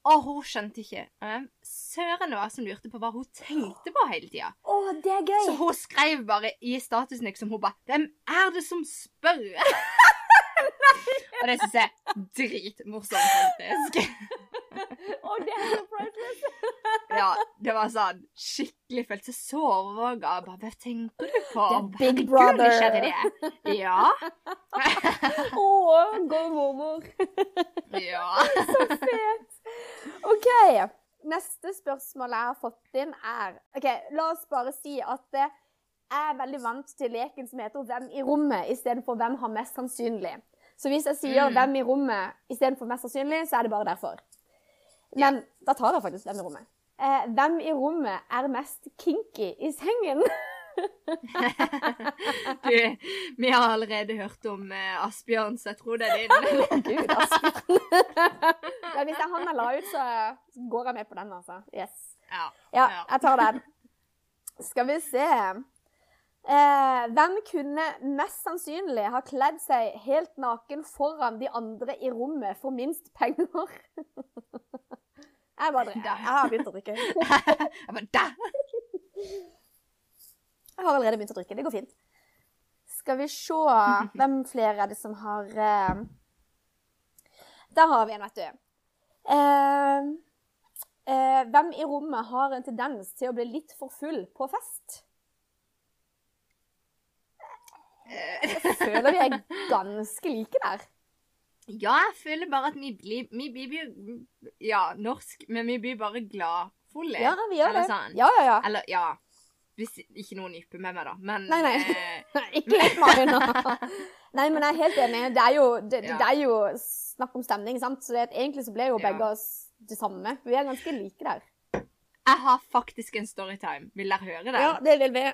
Speaker 1: Og hun skjønte ikke eh, Søren det var som lurte på hva hun tenkte på hele tida.
Speaker 2: Å, det er gøy.
Speaker 1: Så hun skrev bare i statusen liksom Hun bare 'Hvem er det som spør?' Og det syns jeg er dritmorsomt, faktisk.
Speaker 2: Å, det er så priceless.
Speaker 1: Ja, det var sånn skikkelig følte seg så overvåka. Bare, hva tenker du på?
Speaker 2: Det er Big
Speaker 1: Herregud,
Speaker 2: Brother.
Speaker 1: skjedde det? Ja.
Speaker 2: Å, god mormor.
Speaker 1: ja.
Speaker 2: Fet. OK. Neste spørsmål jeg har fått inn, er OK, la oss bare si at eh, jeg er veldig vant til leken som heter 'Hvem i rommet?' istedenfor 'Hvem har mest sannsynlig'. Så hvis jeg sier
Speaker 1: Mm.
Speaker 2: 'Hvem i rommet?' istedenfor 'Mest sannsynlig', så er det bare derfor. Men da tar jeg faktisk 'Hvem i rommet'. Eh, hvem i rommet er mest kinky i sengen?
Speaker 1: Du, vi har allerede hørt om eh, Asbjørn, så jeg tror det er din.
Speaker 2: Gud, Asbjørn. ja, hvis det er han jeg la ut, så så går jeg med på den, altså. Yes.
Speaker 1: Ja.
Speaker 2: Ja,
Speaker 1: Ja.
Speaker 2: jeg tar den. Skal vi se eh, Hvem kunne mest sannsynlig ha kledd seg helt naken foran de andre i rommet for minst penger? Jeg bare drikker. Jeg har begynt å drikke. Jeg
Speaker 1: Jeg bare, da!
Speaker 2: har allerede begynt å drikke. Det går fint. Skal vi se Hvem flere er det som har eh... Der har vi en, vet du. Eh, eh, hvem i rommet har en tendens til å bli litt for full på fest?
Speaker 1: Eh,
Speaker 2: Jeg føler vi er ganske like der.
Speaker 1: Ja, jeg føler bare at vi blir Vi blir jo Ja, norsk, men vi blir bare gladfulle.
Speaker 2: Ja, vi gjør det.
Speaker 1: Eller sånn.
Speaker 2: Ja, ja, ja.
Speaker 1: Eller, ja. Hvis ikke noen nyper med meg, da. Men
Speaker 2: Nei, nei.
Speaker 1: eh,
Speaker 2: Ikke helt meg nå. Nei, men jeg er helt enig. Det er jo, det, det
Speaker 1: Ja.
Speaker 2: er jo snakk om stemning, sant? Så det, egentlig så ble jo
Speaker 1: Ja.
Speaker 2: begge oss det samme. Vi er ganske like der.
Speaker 1: jeg har faktisk en storytime. Vil dere høre den?
Speaker 2: det vil vi.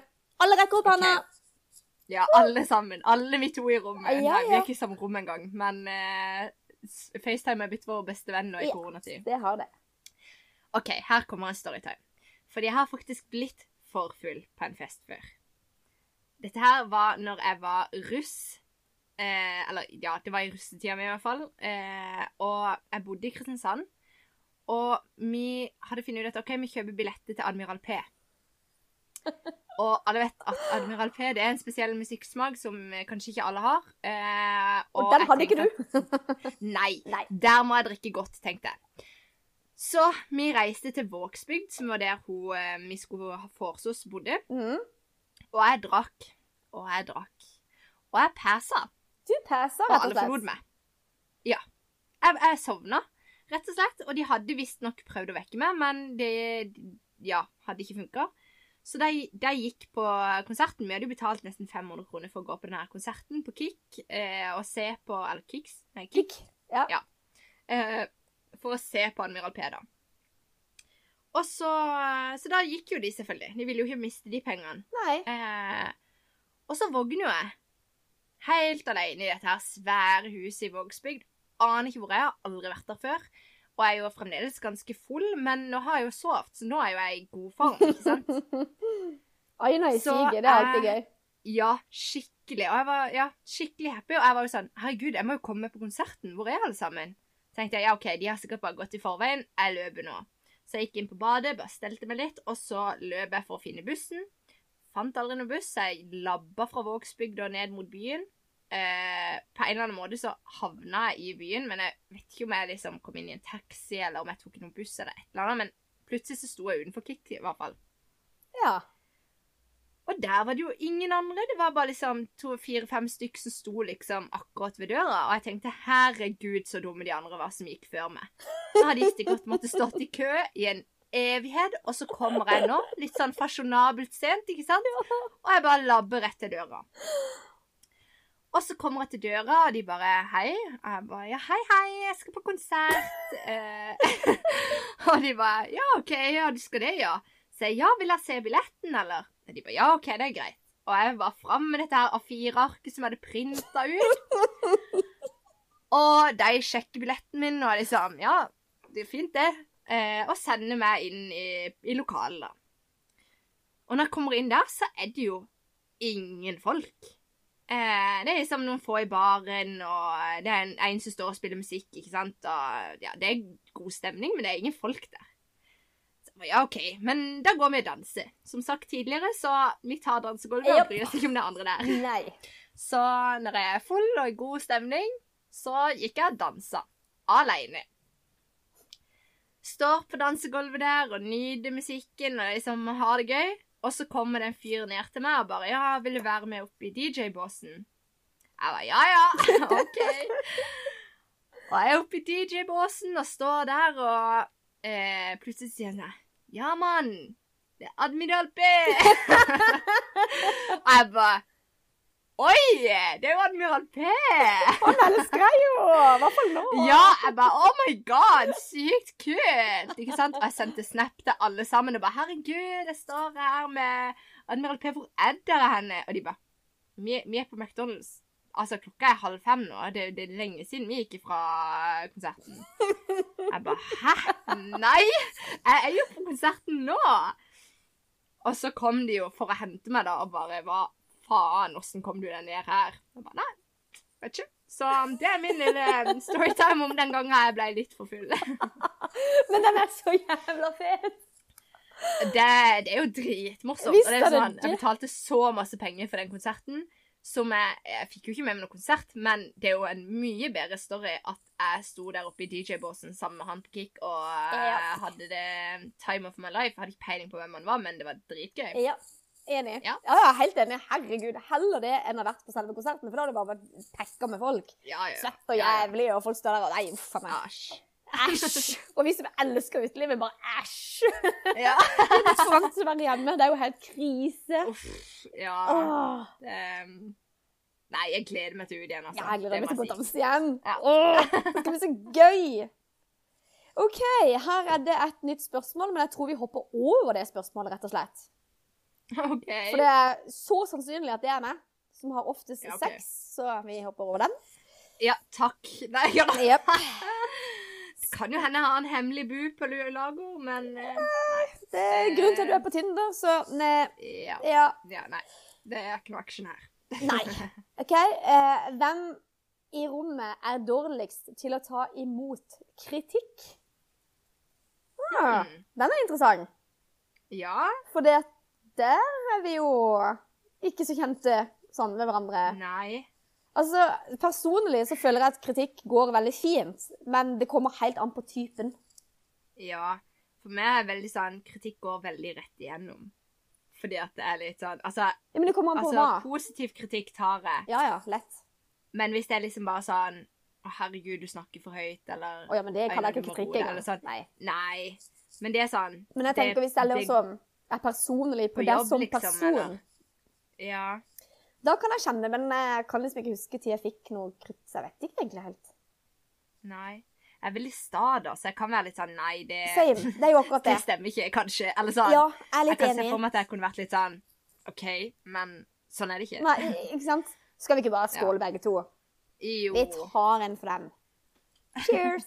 Speaker 2: Alle rekker opp hånda.
Speaker 1: Ok. Ja, alle sammen. Alle vi to i rommet. Nei,
Speaker 2: Ja,
Speaker 1: vi
Speaker 2: ja.
Speaker 1: er ikke i samme rom engang. Men eh, s- FaceTime er blitt vår beste venn nå i
Speaker 2: Ja.
Speaker 1: koronatid.
Speaker 2: Det har det.
Speaker 1: OK, her kommer en storytime. Fordi jeg har faktisk blitt for full på en fest før. Dette her var når jeg var russ. Eh, eller ja, det var i russetida mi i hvert fall. Eh, og jeg bodde i Kristiansand. Og vi hadde funnet ut at OK, vi kjøper billetter til Admiral P. Og alle vet at Admiral P det er en spesiell musikksmak som eh, kanskje ikke alle har. Eh,
Speaker 2: Og den
Speaker 1: jeg
Speaker 2: hadde ikke
Speaker 1: tenkte
Speaker 2: du.
Speaker 1: at- Nei.
Speaker 2: Nei.
Speaker 1: Der må jeg drikke godt, tenkte jeg. Så vi reiste til Vågsbygd, som var der hun, eh, vi skulle ha foreslås bodde.
Speaker 2: Mm.
Speaker 1: Og jeg drakk, og jeg drakk. Og jeg pæsa,
Speaker 2: Du passer,
Speaker 1: og
Speaker 2: rett og
Speaker 1: alle forlot
Speaker 2: slett.
Speaker 1: meg. Ja. Jeg, jeg sovna, rett og slett. Og de hadde visstnok prøvd å vekke meg, men det ja, hadde ikke funka. Så de, de gikk på konserten. Vi hadde jo betalt nesten 500 kroner for å gå på denne konserten på Kick eh, og se på Eller Kicks? Nei, Kick
Speaker 2: Klikk. Ja.
Speaker 1: Ja. eh, for å se på Admiral P, da. Og så, eh, så da gikk jo de, selvfølgelig. De ville jo ikke miste de pengene.
Speaker 2: Nei.
Speaker 1: Eh, og så vågner jo jeg. Helt alene i dette her svære huset i Vågsbygd. Aner ikke hvor jeg er, har aldri vært der før. Og jeg er jo fremdeles ganske full, men nå har jeg jo sovet, så nå er jo jeg i god form. ikke sant?
Speaker 2: Aina i
Speaker 1: Så,
Speaker 2: siget, det er alltid
Speaker 1: eh,
Speaker 2: gøy.
Speaker 1: Ja, skikkelig. Og jeg var ja, skikkelig happy. Og jeg var jo sånn Herregud, jeg må jo komme på konserten. Hvor er alle sammen? Tenkte jeg, ja, OK, de har sikkert bare gått i forveien. Jeg løper nå. Så jeg gikk inn på badet, bare stelte meg litt, og så løp jeg for å finne bussen. Fant aldri noen buss. så Jeg labba fra Vågsbygd og ned mot byen. Eh, på en eller annen måte så havna jeg i byen, men jeg vet ikke om jeg liksom kom inn i en taxi, eller om jeg tok noen buss, eller et eller annet. Men plutselig så sto jeg utenfor Kick, i hvert fall.
Speaker 2: Ja.
Speaker 1: Og der var det jo ingen andre. Det var bare liksom to, fire, fem stykk som sto liksom akkurat ved døra. Og jeg tenkte herregud så dumme de andre var som gikk før meg. Da hadde de ikke godt måtte stått i kø i en evighet, og så kommer jeg nå, litt sånn fasjonabelt sent, ikke sant? Og jeg bare labber rett til døra. Og så kommer jeg til døra, og de bare 'Hei.' Og jeg bare 'Ja, hei, hei, jeg skal på konsert.' Eh, og de bare 'Ja, OK, ja, du skal det, ja.' Så jeg 'Ja, vil jeg se billetten, eller?' Og de bare 'Ja, OK, det er greit.' Og jeg var fram med dette her A4-arket som jeg hadde printa ut. Og de sjekker billetten min, og de sa 'Ja, det er fint, det'. Eh, og sender meg inn i, i lokalet, da. Og når jeg kommer inn der, så er det jo ingen folk. Eh, det er liksom noen få i baren, og eh, det er en, en som står og spiller musikk, ikke sant? Og ja, det er god stemning, men det er ingen folk der. Så jeg bare, ja, OK, men da går vi og danser. Som sagt tidligere, så vi tar dansegulvet
Speaker 2: Japp.
Speaker 1: og bryr oss ikke om det andre der.
Speaker 2: Nei.
Speaker 1: Så når jeg er full og i god stemning, så gikk jeg og dansa. Aleine. Står på dansegulvet der og nyter musikken og liksom har det gøy. Og så kommer det en fyr ned til meg og bare 'Ja, vil du være med opp i DJ-båsen?' Jeg bare 'Ja, ja, OK'. Og jeg er oppe i DJ-båsen og står der, og eh, plutselig sier han sånn 'Ja, mann, det er Admiral B'. Og jeg bare Oi! Det er jo Admiral P!
Speaker 2: Han elsker jo! I hvert fall nå.
Speaker 1: Ja, jeg bare Oh my god, sykt kult! Ikke sant? Og jeg sendte snap til alle sammen og bare Herregud, jeg står her med Admiral P, hvor er dere henne? Og de bare Vi, vi er på McDonald's. Altså, klokka er halv fem nå. Det, det er lenge siden vi gikk fra konserten. Jeg bare Hæ? Nei! Jeg er jo på konserten nå! Og så kom de jo for å hente meg, da, og bare Hva faen, åssen kom du deg ned her? Jeg bare, Nei, vet ikke. Så um, det er min lille storytime om den gangen jeg ble litt for full. Det,
Speaker 2: Men den er så jævla fet.
Speaker 1: det er jo dritmorsomt.
Speaker 2: Visst
Speaker 1: Og det er
Speaker 2: er det
Speaker 1: sånn,
Speaker 2: det.
Speaker 1: jeg betalte så masse penger for den konserten. Som jeg, jeg fikk jo ikke med meg noen konsert, men det er jo en mye bedre story at jeg sto der oppe i DJ-båsen sammen med han på Kick og eh,
Speaker 2: Ja.
Speaker 1: hadde det um, time of my life. Jeg hadde ikke peiling på hvem han var, men det var dritgøy.
Speaker 2: Ja. Enig.
Speaker 1: Ja.
Speaker 2: ja, ja, helt enig. Herregud, heller det enn å ha vært på selve konserten, for da hadde det bare vært pekka med folk.
Speaker 1: Ja, ja.
Speaker 2: Svett og jævlig, og folk står der og Nei, uff a meg.
Speaker 1: Æsj.
Speaker 2: Æsj. Og vi som elsker utelivet, bare æsj.
Speaker 1: Ja.
Speaker 2: Det er så vanskelig å være hjemme. Det er jo helt krise.
Speaker 1: Uff. Ja.
Speaker 2: Åh.
Speaker 1: Ehm, nei, jeg gleder meg til ut igjen, altså.
Speaker 2: Ja, jeg gleder meg til å
Speaker 1: må
Speaker 2: gå og
Speaker 1: jeg si.
Speaker 2: danse igjen.
Speaker 1: Ja.
Speaker 2: Åh, det skal bli så gøy! OK, her er det et nytt spørsmål, men jeg tror vi hopper over det spørsmålet, rett og slett.
Speaker 1: OK.
Speaker 2: For det er så sannsynlig at det er meg som har oftest
Speaker 1: Ja, ok.
Speaker 2: sex, så vi hopper over den.
Speaker 1: Ja, takk. Nei, ja.
Speaker 2: Jep.
Speaker 1: Det kan jo hende jeg har en hemmelig bu på lu- lager, men eh,
Speaker 2: Det er grunnen til at du er på Tinder, så nei,
Speaker 1: ja.
Speaker 2: ja,
Speaker 1: ja. Nei. Det er ikke noe action her.
Speaker 2: nei. OK. Eh, hvem i rommet er dårligst til å ta imot kritikk? Ah,
Speaker 1: Mm.
Speaker 2: den er interessant.
Speaker 1: Ja.
Speaker 2: For det, der er vi jo ikke så kjente sånn med hverandre.
Speaker 1: Nei.
Speaker 2: Altså, Personlig så føler jeg at kritikk går veldig fint, men det kommer helt an på typen.
Speaker 1: Ja. For meg er veldig sånn Kritikk går veldig rett igjennom. Fordi at det er litt sånn Altså,
Speaker 2: Ja, men det kommer an på
Speaker 1: altså
Speaker 2: hva.
Speaker 1: positiv kritikk tar jeg.
Speaker 2: Ja ja, lett.
Speaker 1: Men hvis det er liksom bare sånn Å, herregud, du snakker for høyt, eller
Speaker 2: Å ja, men det kaller jeg
Speaker 1: Øynene
Speaker 2: ikke
Speaker 1: må roe
Speaker 2: kritikk
Speaker 1: deg, eller
Speaker 2: engang.
Speaker 1: sånn.
Speaker 2: Nei.
Speaker 1: Nei. Men det er sånn
Speaker 2: Men jeg tenker hvis jeg lever som er personlig på,
Speaker 1: På
Speaker 2: deg
Speaker 1: jobb,
Speaker 2: som
Speaker 1: liksom,
Speaker 2: person,
Speaker 1: eller? Ja.
Speaker 2: da kan jeg kjenne, men jeg kan liksom ikke huske til jeg fikk noe kritt, så jeg vet ikke egentlig helt.
Speaker 1: Nei. Jeg er veldig sta, da, så jeg kan være litt sånn Nei, det,
Speaker 2: Same. Det er jo akkurat
Speaker 1: det
Speaker 2: det.
Speaker 1: stemmer ikke, kanskje. Eller sånn.
Speaker 2: Ja, jeg er
Speaker 1: jeg
Speaker 2: litt
Speaker 1: kan
Speaker 2: enig.
Speaker 1: se for meg at jeg kunne vært litt sånn OK, men sånn er det ikke.
Speaker 2: Nei, ikke sant? Skal vi ikke bare skåle begge to?
Speaker 1: Jo.
Speaker 2: Vi tar en for dem. Cheers!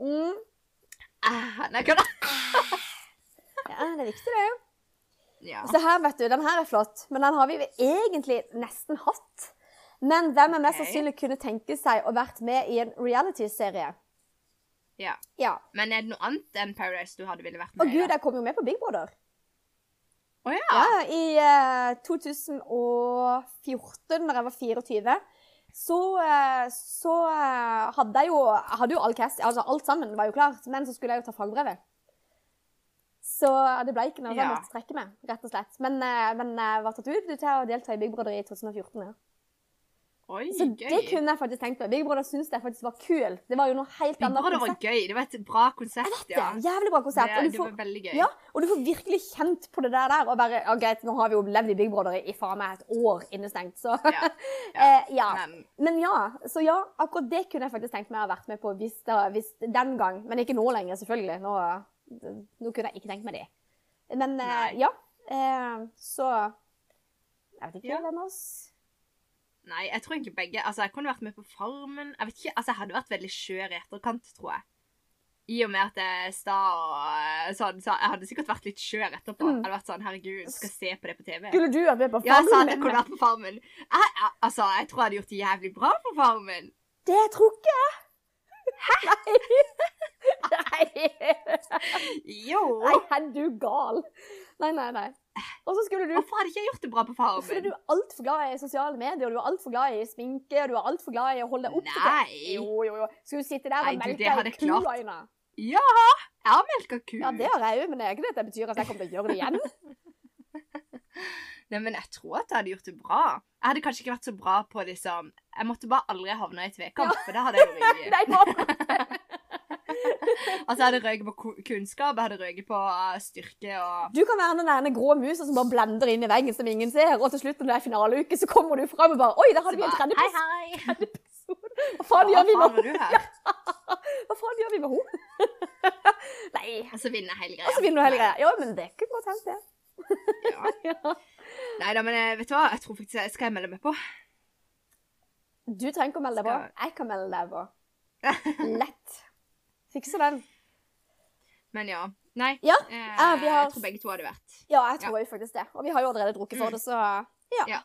Speaker 2: Mm.
Speaker 1: Ah, nei, kan
Speaker 2: Ja, det er viktig, det.
Speaker 1: Ja.
Speaker 2: Så her, vet du, den her er flott, men den har vi egentlig nesten hatt. Men hvem er mest
Speaker 1: Ok.
Speaker 2: sannsynlig kunne tenke seg å vært med i en reality-serie?
Speaker 1: ja.
Speaker 2: Ja.
Speaker 1: Men er det noe annet enn Paradise du hadde ville vært
Speaker 2: Å
Speaker 1: med
Speaker 2: gud,
Speaker 1: da?
Speaker 2: jeg kom jo med på Big Brother.
Speaker 1: Å ja.
Speaker 2: Ja, I eh, 2014, da jeg var 24, så, eh, så eh, hadde jeg jo, jeg hadde jo all cast, altså alt sammen var jo klart, men så skulle jeg jo ta fagbrevet. Så det ble ikke noe sånn
Speaker 1: Ja.
Speaker 2: å strekke med, eh, rett og slett. Men, eh, men jeg var tatt ut til å delta i Big Brother i 2014. Ja.
Speaker 1: Å Oi,
Speaker 2: Så
Speaker 1: gøy.
Speaker 2: det kunne jeg faktisk tenkt på. Big Brother syntes jeg faktisk var kul. Det var jo noe helt
Speaker 1: Big
Speaker 2: annet
Speaker 1: Brother var
Speaker 2: konsept.
Speaker 1: gøy. Det var et bra konsept,
Speaker 2: Det
Speaker 1: ja.
Speaker 2: er et Jævlig bra konsept.
Speaker 1: Det,
Speaker 2: Og du
Speaker 1: det
Speaker 2: får,
Speaker 1: var veldig gøy.
Speaker 2: ja, og du får virkelig kjent på det der der. Og bare, ja greit, nå har vi jo levd i Big Brother i faen meg et år innestengt, så
Speaker 1: Ja,
Speaker 2: eh, ja.
Speaker 1: Men
Speaker 2: Men ja, så ja, akkurat det kunne jeg faktisk tenkt meg å ha vært med på hvis det, hvis den gang. Men ikke nå lenger, selvfølgelig. Nå, nå kunne jeg ikke tenkt meg det. Men eh,
Speaker 1: Nei.
Speaker 2: ja, eh, så Jeg vet ikke
Speaker 1: Ja.
Speaker 2: hvem av oss
Speaker 1: nei, jeg tror egentlig begge Altså, jeg kunne vært med på Farmen. Jeg vet ikke, altså, jeg hadde vært veldig skjør i etterkant, tror jeg. I og med at jeg er sta og eh, sånn, så jeg hadde sikkert vært litt skjør etterpå. Jeg
Speaker 2: Mm.
Speaker 1: hadde vært sånn Herregud, skal jeg se på det på TV.
Speaker 2: Skulle du vært med på
Speaker 1: Ja, jeg sa at jeg
Speaker 2: Farmen?
Speaker 1: kunne vært på Farmen. Jeg, jeg, altså, jeg tror jeg hadde gjort det jævlig bra på Farmen.
Speaker 2: Det tror ikke jeg. Nei. Nei.
Speaker 1: Jo.
Speaker 2: Nei, er du gal? Nei, nei, nei. Og så skulle du
Speaker 1: Hvorfor hadde ikke jeg gjort det bra på
Speaker 2: Fordi
Speaker 1: Farmen?
Speaker 2: du er altfor glad i sosiale medier, du er altfor glad i sminke, og du er altfor glad i å holde deg oppdatert.
Speaker 1: Nei.
Speaker 2: Jo, jo, jo. Skulle du sitte der
Speaker 1: Nei,
Speaker 2: og
Speaker 1: du, det
Speaker 2: melke
Speaker 1: hadde
Speaker 2: ei
Speaker 1: jeg klart.
Speaker 2: kuøyne?
Speaker 1: Ja! Jeg har melka ku.
Speaker 2: Ja, det har jeg òg, men det er ikke det at det betyr at jeg kommer til å gjøre det igjen.
Speaker 1: Nei, men jeg tror at jeg hadde gjort det bra. Jeg hadde kanskje ikke vært så bra på liksom Jeg måtte bare aldri havne i tvekamp, for da hadde jeg jo røyket.
Speaker 2: Nei, nå-
Speaker 1: Altså, jeg hadde røyket på ku- kunnskap, jeg hadde røyket på eh, styrke og
Speaker 2: Du kan være den der grå musa som bare blender inn i veggen som ingen ser, og til slutt når det er finaleuke, så kommer du fram og bare Oi, der hadde vi en
Speaker 1: Så bare, Hei,
Speaker 2: tredjeplass!
Speaker 1: hei!
Speaker 2: Hva faen
Speaker 1: Hva
Speaker 2: gjør vi
Speaker 1: faen
Speaker 2: med
Speaker 1: var du her?
Speaker 2: Hva faen gjør vi med henne? Nei.
Speaker 1: Og så vinner hele greia.
Speaker 2: Og så vinner du hele greia. Ja, men det kunne godt hendt, det.
Speaker 1: Ja.
Speaker 2: Ja.
Speaker 1: Nei da, men eh, vet du hva? Jeg tror faktisk jeg skal jeg melde meg på.
Speaker 2: Du trenger ikke å melde deg på. Jeg kan melde deg på. Lett. Fikse den.
Speaker 1: Men ja. Nei.
Speaker 2: Ja,
Speaker 1: eh,
Speaker 2: ja, Ah, vi har-
Speaker 1: Jeg tror begge to hadde vært.
Speaker 2: Ja, jeg tror jo faktisk det. Og vi har jo allerede drukket for det, så ja.
Speaker 1: Mm. Ja.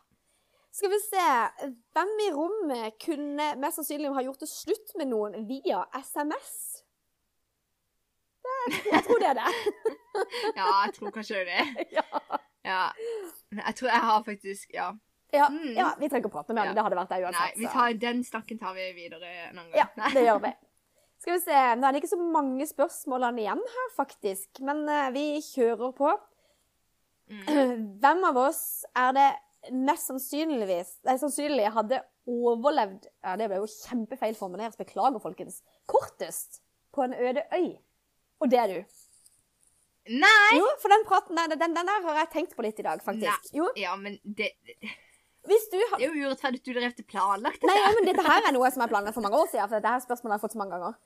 Speaker 2: Skal vi se Hvem i rommet kunne mest sannsynlig ha gjort det slutt med noen via SMS? Det, jeg tror det er det.
Speaker 1: Ja, jeg tror kanskje det er det.
Speaker 2: Ja,
Speaker 1: Ja. Men Jeg tror jeg har faktisk Ja.
Speaker 2: ja,
Speaker 1: Mm.
Speaker 2: ja vi trenger ikke å prate med
Speaker 1: Ja.
Speaker 2: ham. Det hadde vært det
Speaker 1: Nei,
Speaker 2: uansett.
Speaker 1: vi
Speaker 2: så-
Speaker 1: tar, den snakken tar vi videre en annen gang.
Speaker 2: Ja,
Speaker 1: Nei.
Speaker 2: det gjør vi. Skal vi se, Nå er det ikke så mange spørsmålene igjen her, faktisk. Men eh, vi kjører på.
Speaker 1: Mm.
Speaker 2: Hvem av oss er det mest sannsynligvis nei, sannsynlig hadde overlevd ja, Det ble jo kjempefeil formulert, beklager, folkens. Kortest på en øde øy. Og det er du.
Speaker 1: Nei!
Speaker 2: Jo, for den praten der, den, den der har jeg tenkt på litt i dag, faktisk. Jo,
Speaker 1: Ja, men det, det
Speaker 2: hvis du har...
Speaker 1: er jo urettferdig at du drev til planlagt.
Speaker 2: Nei, ja, men dette her er noe som jeg planla for mange år siden, for dette her spørsmålet har jeg fått så mange ganger.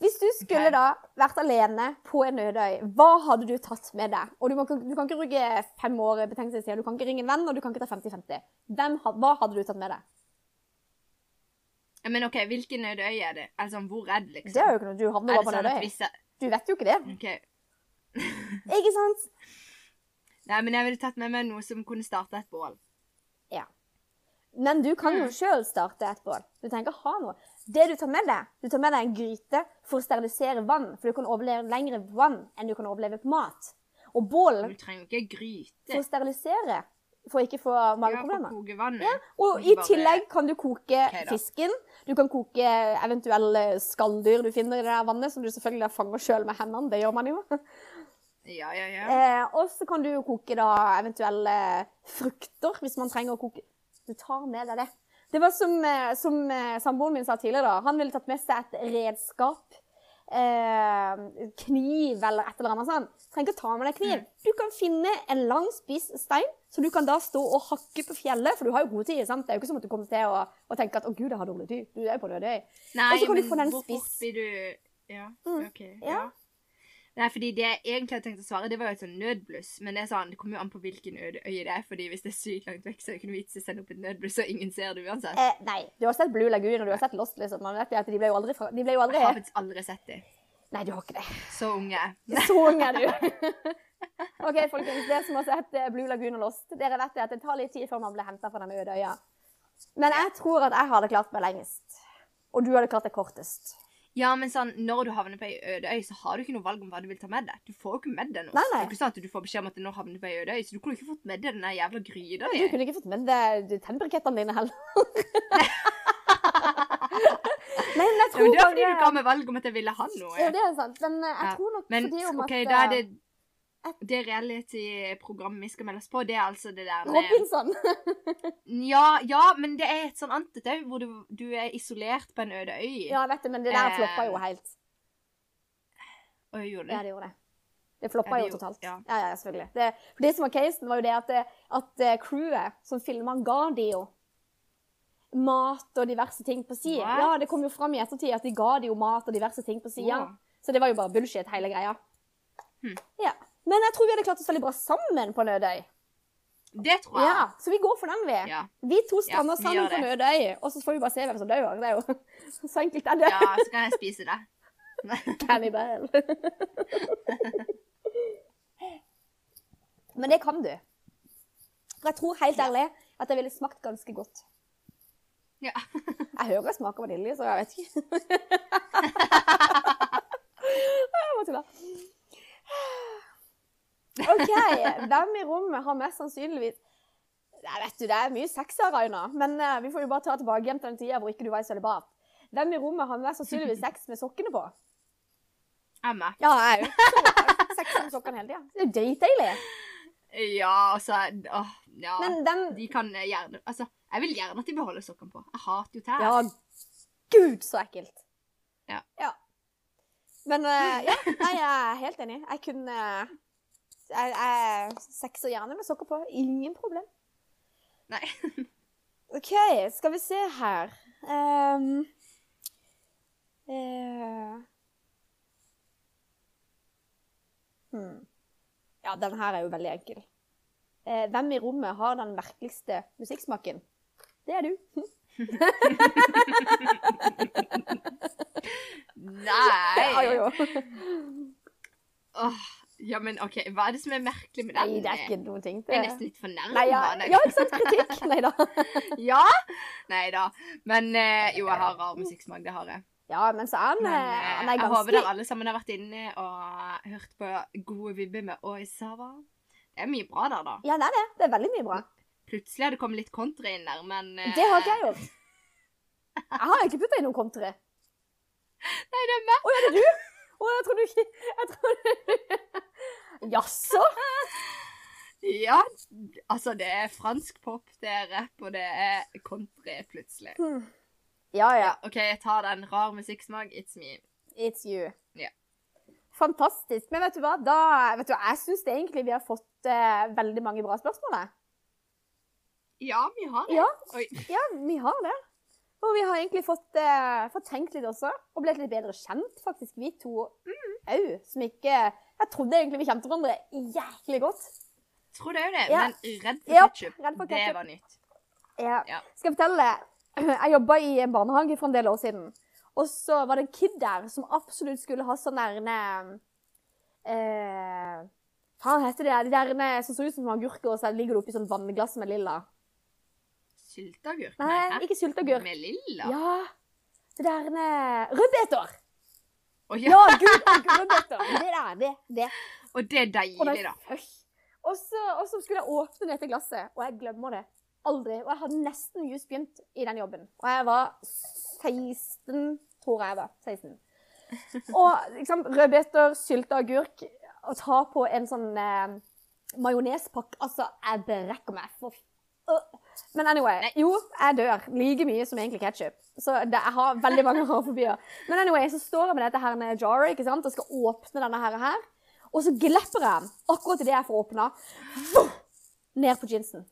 Speaker 2: Hvis du skulle
Speaker 1: Ok.
Speaker 2: da vært alene på en øde øy, hva hadde du tatt med deg? Og du, må, ikke- du kan ikke bruke fem år betenkningstid, du kan ikke ringe en venn, og du kan ikke ta 50-50. Hvem ha- Hva hadde du tatt med deg?
Speaker 1: Men OK, hvilken øde øy er det? Altså, hvor er det, liksom?
Speaker 2: Det er jo ikke noe, du havner
Speaker 1: er det
Speaker 2: bare på en
Speaker 1: sånn
Speaker 2: øde
Speaker 1: at
Speaker 2: øy.
Speaker 1: hvis Mm. jeg
Speaker 2: Du vet jo ikke det.
Speaker 1: OK.
Speaker 2: Ikke sant?
Speaker 1: Nei, men jeg ville tatt med meg noe som kunne starte et bål.
Speaker 2: Men du kan
Speaker 1: Mm.
Speaker 2: jo sjøl starte et bål. Du trenger ikke ha noe. Det du tar med deg, du tar med deg en gryte for å sterilisere vann, for du kan overleve lengre på vann enn du kan overleve på mat. Og bål
Speaker 1: Du trenger jo ikke gryte.
Speaker 2: for å sterilisere, for å ikke få
Speaker 1: Ja, for å
Speaker 2: mageproblemer.
Speaker 1: koke vannet.
Speaker 2: Og
Speaker 1: Ikke
Speaker 2: i
Speaker 1: bare-
Speaker 2: tillegg kan du koke
Speaker 1: Ok, da.
Speaker 2: fisken. Du kan koke eventuelle skalldyr du finner i det der vannet, som du selvfølgelig fanger sjøl med hendene. Det gjør man jo.
Speaker 1: Ja, ja, ja.
Speaker 2: Eh, og så kan du jo koke da eventuelle frukter, hvis man trenger å koke Du tar med deg det. Det var som, eh, som eh, samboeren min sa tidligere, da. Han ville tatt med seg et redskap. Eh, kniv eller et eller annet sånt. Du trenger ikke ta med deg kniv. Du kan finne en lang, spiss stein, så du kan da stå og hakke på fjellet. For du har jo god tid, sant? Det er jo ikke som at du kommer til å, å tenke at 'Å, gud, jeg har dårlig tid'. Du er jo på en øde øy.
Speaker 1: Nei,
Speaker 2: Og så kan du
Speaker 1: men
Speaker 2: få den
Speaker 1: hvor fort
Speaker 2: spiss.
Speaker 1: blir du Ja,
Speaker 2: Mm,
Speaker 1: OK.
Speaker 2: ja.
Speaker 1: Ja. Nei, fordi det jeg egentlig hadde tenkt å svare, det var jo et sånn nødbluss. Men det er sånn, det kommer jo an på hvilken øde øye det er. fordi hvis det er sykt langt vekk, så er det ikke noe vits i å sende opp et nødbluss, og ingen ser det uansett.
Speaker 2: Eh, nei. Du har sett Blue Lagoon, og du har sett Lost, liksom. Man vet jo at de ble jo aldri, fra- de ble jo aldri
Speaker 1: Jeg har faktisk aldri sett det.
Speaker 2: Nei, du har ikke det.
Speaker 1: Så unge. er jeg.
Speaker 2: Så ung Sånn er du. OK, folkens. Dere som har sett eh, Blue Lagoon og Lost, dere vet det at det tar litt tid før man blir henta fra den øde øya. Men jeg tror at jeg hadde klart meg lengst. Og du hadde klart deg kortest.
Speaker 1: Ja, men sånn, når du havner på ei øde øy, så har du ikke noe valg om hva du vil ta med deg. Du får jo ikke med deg noe.
Speaker 2: Nei, nei.
Speaker 1: Det er ikke sånn at du får beskjed om at du nå havner du på ei øde øy, så du kunne jo ikke fått med deg den der jævla gryta
Speaker 2: Du
Speaker 1: di.
Speaker 2: kunne ikke fått med deg tennbrikettene dine heller. Nei, men jeg
Speaker 1: Ja,
Speaker 2: tror
Speaker 1: men det er fordi du ga
Speaker 2: bare
Speaker 1: meg valg om at jeg ville ha noe.
Speaker 2: Ja, det er sant. Men eh, jeg
Speaker 1: Ja,
Speaker 2: tror nok
Speaker 1: Men
Speaker 2: fordi om
Speaker 1: OK,
Speaker 2: at
Speaker 1: da er det Det reality-programmet vi skal melde oss på, det er altså det der med-
Speaker 2: Robinson.
Speaker 1: Ja, ja, men det er et sånn antetau hvor du, du er isolert på en øde øy.
Speaker 2: Ja, jeg vet det, men det der
Speaker 1: Eh,
Speaker 2: floppa jo helt.
Speaker 1: Og jeg gjorde
Speaker 2: Ja,
Speaker 1: det.
Speaker 2: det gjorde det. Det floppa
Speaker 1: Ja, det
Speaker 2: jo
Speaker 1: gjorde-
Speaker 2: totalt.
Speaker 1: ja.
Speaker 2: Ja, ja, ja selvfølgelig. Det, for det som var casen, var jo det at, det- at eh, crewet som filma, ga de jo mat og diverse ting på sida.
Speaker 1: What?
Speaker 2: Ja, det kom jo fram i ettertid at de ga de jo mat og diverse ting på sida.
Speaker 1: Wow.
Speaker 2: Så det var jo bare bullshit, hele greia.
Speaker 1: Hmm.
Speaker 2: Ja. Men jeg tror vi hadde klart oss veldig bra sammen på Nødøy.
Speaker 1: Det tror jeg.
Speaker 2: Ja, Så vi går for den, vi.
Speaker 1: Ja. Ja.
Speaker 2: Vi to strander
Speaker 1: Ja, vi
Speaker 2: sammen
Speaker 1: gjør
Speaker 2: på
Speaker 1: det.
Speaker 2: Nødøy, og så får vi bare se hvem som dør. Det er jo så enkelt er det.
Speaker 1: så kan jeg spise det.
Speaker 2: Cannibal. Men det kan du. For jeg tror helt ærlig at det ville smakt ganske godt.
Speaker 1: Ja.
Speaker 2: Jeg hører jeg smaker vanilje, så jeg vet ikke. jeg bare tuller. OK. Hvem i rommet har mest sannsynligvis Nei, vet du, Det er mye sex her, Aina, men eh, vi får jo bare ta tilbake igjen til den tida hvor ikke du var i sølibat. Hvem i rommet har mest sannsynligvis sex med sokkene på?
Speaker 1: Emma.
Speaker 2: Ja, jeg òg. Sex med sokkene hele tida. Det er jo dritdeilig.
Speaker 1: Ja, altså Åh, ja.
Speaker 2: Men den
Speaker 1: De kan eh, gjerne Altså, jeg vil gjerne at de beholder sokkene på. Jeg hater jo tær.
Speaker 2: Ja, gud, så ekkelt.
Speaker 1: Ja.
Speaker 2: Men eh, ja, nei, jeg er helt enig. Jeg kunne Jeg, jeg sexer gjerne med sokker på. Ingen problem.
Speaker 1: Nei.
Speaker 2: OK, skal vi se her Ehm, eh, hmm. Ja, den her er jo veldig enkel. Eh, hvem i rommet har den merkeligste musikksmaken? Det er du.
Speaker 1: Nei.
Speaker 2: Ja, jo, jo.
Speaker 1: Åh, ja, men OK, hva er det som er merkelig med den?
Speaker 2: Nei, det er ikke noen ting.
Speaker 1: Jeg er nesten litt fornærmet.
Speaker 2: Nei, ja,
Speaker 1: Nei.
Speaker 2: ja, ikke sant? Kritikk. Nei da.
Speaker 1: Ja? Nei da. Men eh, jo, jeg har rar musikksmak, det har jeg.
Speaker 2: Ja, men så er han,
Speaker 1: Men
Speaker 2: eh,
Speaker 1: eh,
Speaker 2: han er
Speaker 1: jeg håper dere
Speaker 2: ganske
Speaker 1: alle sammen har vært inne og hørt på gode vibber med Oi Sava. Det er Eh. mye bra der, da.
Speaker 2: Ja, det er det. Det er veldig mye bra.
Speaker 1: Plutselig har det kommet litt kontra inn der, men eh,
Speaker 2: Det har ikke jeg gjort. Jeg har ikke putta inn noen kontre.
Speaker 1: Nei, det er meg.
Speaker 2: Å, er det du? Å, jeg trodde ikke Jeg trodde Jaså?
Speaker 1: Ja, altså, det er fransk pop, det er rap, og det er country, plutselig.
Speaker 2: Ja, ja.
Speaker 1: OK, jeg tar den. Rar musikksmak, it's me.
Speaker 2: It's you.
Speaker 1: Ja.
Speaker 2: Fantastisk. Men vet du hva, da, vet du, hva, jeg syns egentlig vi har fått eh, veldig mange bra spørsmål. jeg.
Speaker 1: Ja, vi har det.
Speaker 2: Ja.
Speaker 1: Oi.
Speaker 2: Ja, vi har det. Og vi har egentlig fått, eh, fått tenkt litt også, og blitt litt bedre kjent, faktisk, vi to au, som ikke Jeg trodde egentlig vi kjente hverandre jæklig godt.
Speaker 1: Tror det er jo det,
Speaker 2: Ja.
Speaker 1: men redd
Speaker 2: Ja,
Speaker 1: for ketchup.
Speaker 2: redd for
Speaker 1: Det
Speaker 2: ketchup.
Speaker 1: var nytt.
Speaker 2: Ja.
Speaker 1: Ja.
Speaker 2: Skal jeg fortelle Jeg jobba i en barnehage for en del år siden. Og så var det en kid der som absolutt skulle ha sånn nærme eh, Faen, heter det de der eh, som ser ut som agurker, og så ligger det oppi sånn vannglass med lilla?
Speaker 1: Sylteagurk?
Speaker 2: Nei,
Speaker 1: hæ?
Speaker 2: ikke sylteagurk.
Speaker 1: Med lilla?
Speaker 2: Ja. Det der eh, Rødbeter!
Speaker 1: Å, ja.
Speaker 2: Ja, gud, og gulrøtter. Det der, det, det.
Speaker 1: Og det er
Speaker 2: Og, den,
Speaker 1: deilig, da.
Speaker 2: Øy. og, så, og så skulle jeg åpne dette glasset, og jeg glemmer det aldri. Og jeg hadde nesten just begynt i den jobben. Og jeg var 16, tror jeg var. 16. Og liksom, rødbeter, sylte agurk, og ta på en sånn eh, majonespakke. Altså, jeg brekker meg. For... Øh. Men anyway,
Speaker 1: Nei.
Speaker 2: jo, jeg dør like mye som egentlig ketsjup. Så det, jeg har veldig mange havfobier. Men anyway, så står jeg med dette her med jarret ikke sant, og skal åpne denne her. her. Og så glepper jeg den akkurat idet jeg får åpna, ned på jeansen.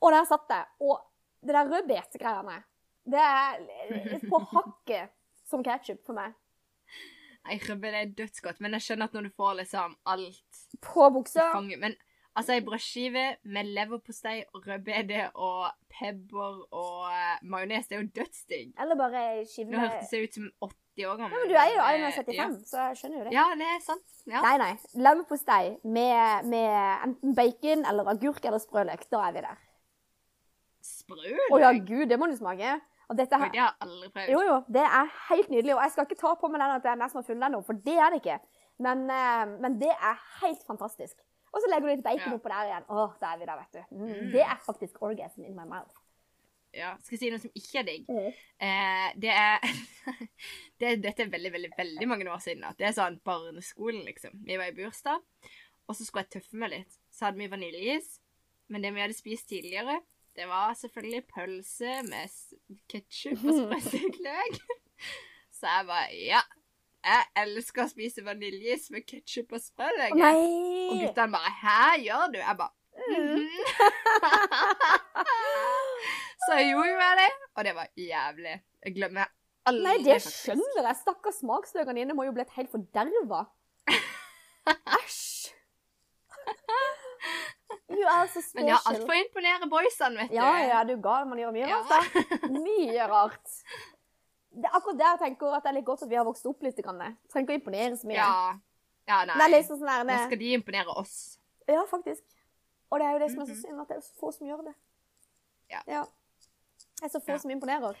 Speaker 2: Og der satt jeg. Og det der rødbetegreiene, det er på hakket som ketsjup for meg.
Speaker 1: Nei, rødbet det er dødsgodt, men jeg skjønner at når du får liksom alt
Speaker 2: På
Speaker 1: i
Speaker 2: buksa.
Speaker 1: fanget Men altså, ei brødskive med leverpostei og rødbete og pepper og eh, majones, det er jo dødsdigg.
Speaker 2: Eller bare ei skive
Speaker 1: Nå
Speaker 2: med
Speaker 1: hørtes jeg ut som 80 år gammel.
Speaker 2: Ja, men du er jo
Speaker 1: men,
Speaker 2: Aina
Speaker 1: eh,
Speaker 2: 75, så jeg skjønner jo
Speaker 1: Ja.
Speaker 2: det.
Speaker 1: ja, det er sant. Ja.
Speaker 2: Nei, nei. Leverpostei med, med enten bacon eller agurk eller sprøløk. Da er vi der.
Speaker 1: Sprøl.
Speaker 2: Å ja, gud, det må du smake. Og dette
Speaker 1: Oi,
Speaker 2: her
Speaker 1: det har jeg aldri prøvd.
Speaker 2: Jo, jo, det er helt nydelig. Og jeg skal ikke ta på meg den at det er meg som har funnet den opp, for det er det ikke. Men, eh, men det er helt fantastisk. Og så legger du litt bacon
Speaker 1: Ja.
Speaker 2: oppå der igjen. Åh, da er vi der, vet du. Mm.
Speaker 1: Mm.
Speaker 2: Det er faktisk orgasm in my mouth.
Speaker 1: Ja. Skal jeg si noe som ikke er digg?
Speaker 2: Mm.
Speaker 1: Eh, det er det, Dette er veldig, veldig veldig mange år siden. At det er sånn barneskolen, liksom. Vi var i bursdag, Og så skulle jeg tøffe meg litt. Så hadde vi vaniljeis. Men det vi hadde spist tidligere, det var selvfølgelig pølse med ketsjup og sprøyteløk. Så jeg bare Ja, jeg elsker å spise vaniljeis med ketsjup og sprøyteløk. Og
Speaker 2: Nei!
Speaker 1: guttene bare Hæ, gjør du? Jeg bare
Speaker 2: Mm-hmm.
Speaker 1: «Mhm». Så jeg gjorde jo jeg det, og det var jævlig. Jeg glemmer aldri
Speaker 2: Nei, det
Speaker 1: faktisk.
Speaker 2: skjønner jeg. Stakkars smaksløkene dine må jo blitt helt forderva. Æsj! Du er så
Speaker 1: Men ja,
Speaker 2: special.
Speaker 1: alt for å imponere boysene, vet du.
Speaker 2: Ja, ja, du er gal. Man gjør mye
Speaker 1: Ja.
Speaker 2: rart, da. Mye rart. Det er akkurat der jeg tenker at det er litt godt at vi har vokst opp litt. grann. Trenger ikke å imponere så mye.
Speaker 1: Ja. ja nei.
Speaker 2: Det er liksom sånn der,
Speaker 1: Nå skal de imponere oss.
Speaker 2: Ja, faktisk. Og det er jo det som er så
Speaker 1: Mhm.
Speaker 2: synd, at det er så få som gjør det.
Speaker 1: Ja.
Speaker 2: Det er så få
Speaker 1: Ja.
Speaker 2: som imponerer.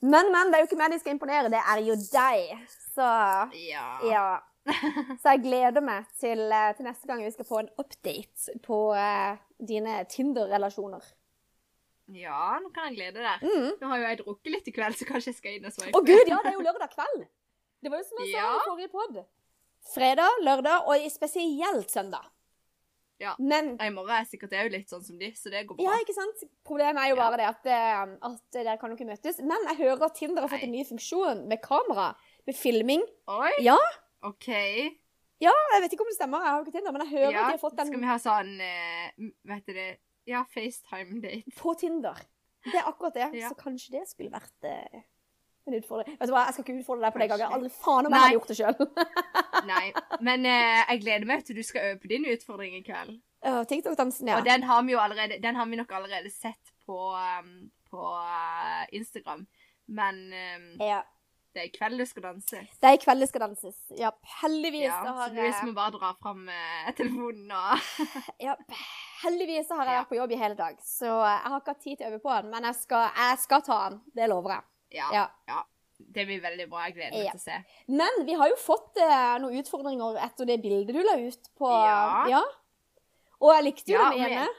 Speaker 2: Men, men, det er jo ikke meg de skal imponere, det er jo deg. Så
Speaker 1: Ja.
Speaker 2: ja. Så jeg gleder meg til, eh, til neste gang vi skal få en update på eh, dine Tinder-relasjoner.
Speaker 1: ja, nå kan jeg glede deg.
Speaker 2: Mm.
Speaker 1: Nå har jo jeg drukket litt i kveld, så kanskje jeg skal inn og
Speaker 2: Å
Speaker 1: sveipe.
Speaker 2: gud, ja, det er jo lørdag kveld! Det var jo som jeg sa
Speaker 1: Ja.
Speaker 2: i forrige podd. Fredag, lørdag og i- spesielt søndag.
Speaker 1: Ja.
Speaker 2: Men
Speaker 1: I morgen er jeg sikkert òg litt sånn som de, så det går bra.
Speaker 2: Ja, ikke sant? Problemet er jo bare det at, eh, at dere kan jo ikke møtes. Men jeg hører at Tinder har fått en ny funksjon med kamera, med filming.
Speaker 1: Oi!
Speaker 2: Ja.
Speaker 1: OK.
Speaker 2: Jeg vet ikke om det stemmer, jeg har jo ikke Tinder, men jeg hører
Speaker 1: Ja,
Speaker 2: at de har fått
Speaker 1: skal
Speaker 2: den
Speaker 1: vi ha sånn eh, Vet du det Ja, FaceTime-date.
Speaker 2: på Tinder. Det er akkurat det.
Speaker 1: Ja.
Speaker 2: Så kanskje det skulle vært eh, en utfordring. Vet du hva, jeg skal ikke utfordre deg på det engang. Jeg har Aldri faen om jeg
Speaker 1: Nei.
Speaker 2: hadde gjort det sjøl.
Speaker 1: Nei. Men eh, jeg gleder meg til du skal øve på din utfordring i kveld.
Speaker 2: Eh, TikTok-dansen, ja.
Speaker 1: Og den har vi jo allerede Den har vi nok allerede sett på, um, på uh, Instagram. Men um,
Speaker 2: ja.
Speaker 1: det er i kveld du skal danse.
Speaker 2: Det er i kveld det skal danses. Ja, heldigvis
Speaker 1: Ja,
Speaker 2: så
Speaker 1: så
Speaker 2: har
Speaker 1: Louise
Speaker 2: jeg
Speaker 1: må bare dra fram eh, telefonen og
Speaker 2: ja, Heldigvis så har jeg
Speaker 1: Ja.
Speaker 2: vært på jobb i hele dag, så jeg har ikke hatt tid til å øve på den. Men jeg skal, jeg skal ta den. Det lover jeg.
Speaker 1: ja,
Speaker 2: Ja.
Speaker 1: Det blir veldig bra. Jeg gleder meg
Speaker 2: Ja.
Speaker 1: til å se.
Speaker 2: Men vi har jo fått eh, noen utfordringer etter det bildet du la ut på
Speaker 1: Ja.
Speaker 2: Og jeg likte jo
Speaker 1: Ja,
Speaker 2: den
Speaker 1: men-
Speaker 2: ene.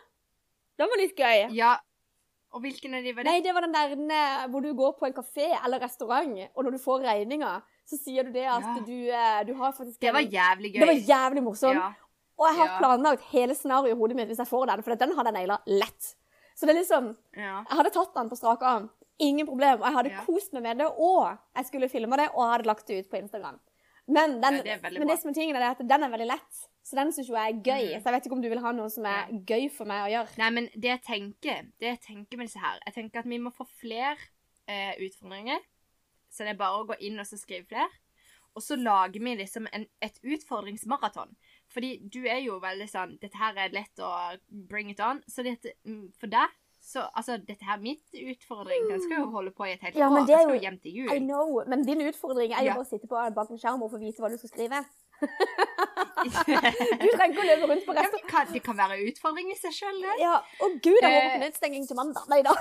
Speaker 2: Den var litt gøy.
Speaker 1: Ja. Og hvilken av de var det?
Speaker 2: Nei, det var den der eh, hvor du går på en kafé eller restaurant, og når du får regninga, så sier du det at
Speaker 1: Ja.
Speaker 2: du, eh, du har faktisk
Speaker 1: Det var
Speaker 2: en-
Speaker 1: jævlig gøy.
Speaker 2: det var jævlig sånn. morsomt.
Speaker 1: ja.
Speaker 2: Og jeg har
Speaker 1: Ja.
Speaker 2: planlagt hele scenarioet i hodet mitt hvis jeg får den, for den hadde jeg naila lett. Så det er liksom
Speaker 1: Ja.
Speaker 2: Jeg hadde tatt den på strak arm. Ingen problem. Og jeg hadde
Speaker 1: Ja.
Speaker 2: kost meg med det, og jeg skulle filma det, og jeg hadde lagt det ut på Instagram. Men, den,
Speaker 1: Ja, det er veldig
Speaker 2: men
Speaker 1: bra.
Speaker 2: det som er tingen, er at den er veldig lett, så den syns jo jeg er gøy.
Speaker 1: Mm.
Speaker 2: Så jeg vet ikke om du vil ha noe som er gøy for meg å gjøre.
Speaker 1: Nei, men det jeg tenker, det jeg tenker med disse her Jeg tenker at vi må få flere eh, utfordringer. Så det er bare å gå inn og så skrive flere. Og så lager vi liksom en, et utfordringsmaraton. Fordi du er jo veldig sånn Dette her er lett å bring it on. Så dette, mm, for deg så Altså, dette her er mitt utfordring. Den skal jo holde på i et helt
Speaker 2: Ja, men
Speaker 1: år.
Speaker 2: det er
Speaker 1: Den skal
Speaker 2: jo-
Speaker 1: jo hjem til
Speaker 2: I
Speaker 1: jul.
Speaker 2: know, men din utfordring er jo
Speaker 1: Ja.
Speaker 2: bare å sitte på bak en skjerm og få vite hva du skal skrive. Du trenger ikke å løpe rundt på
Speaker 1: Ja, men
Speaker 2: resten.
Speaker 1: det, kan, det kan være en utfordring i seg sjøl, det.
Speaker 2: Ja. Å gud, jeg håper på
Speaker 1: Eh.
Speaker 2: nedstenging til mandag. Nei da,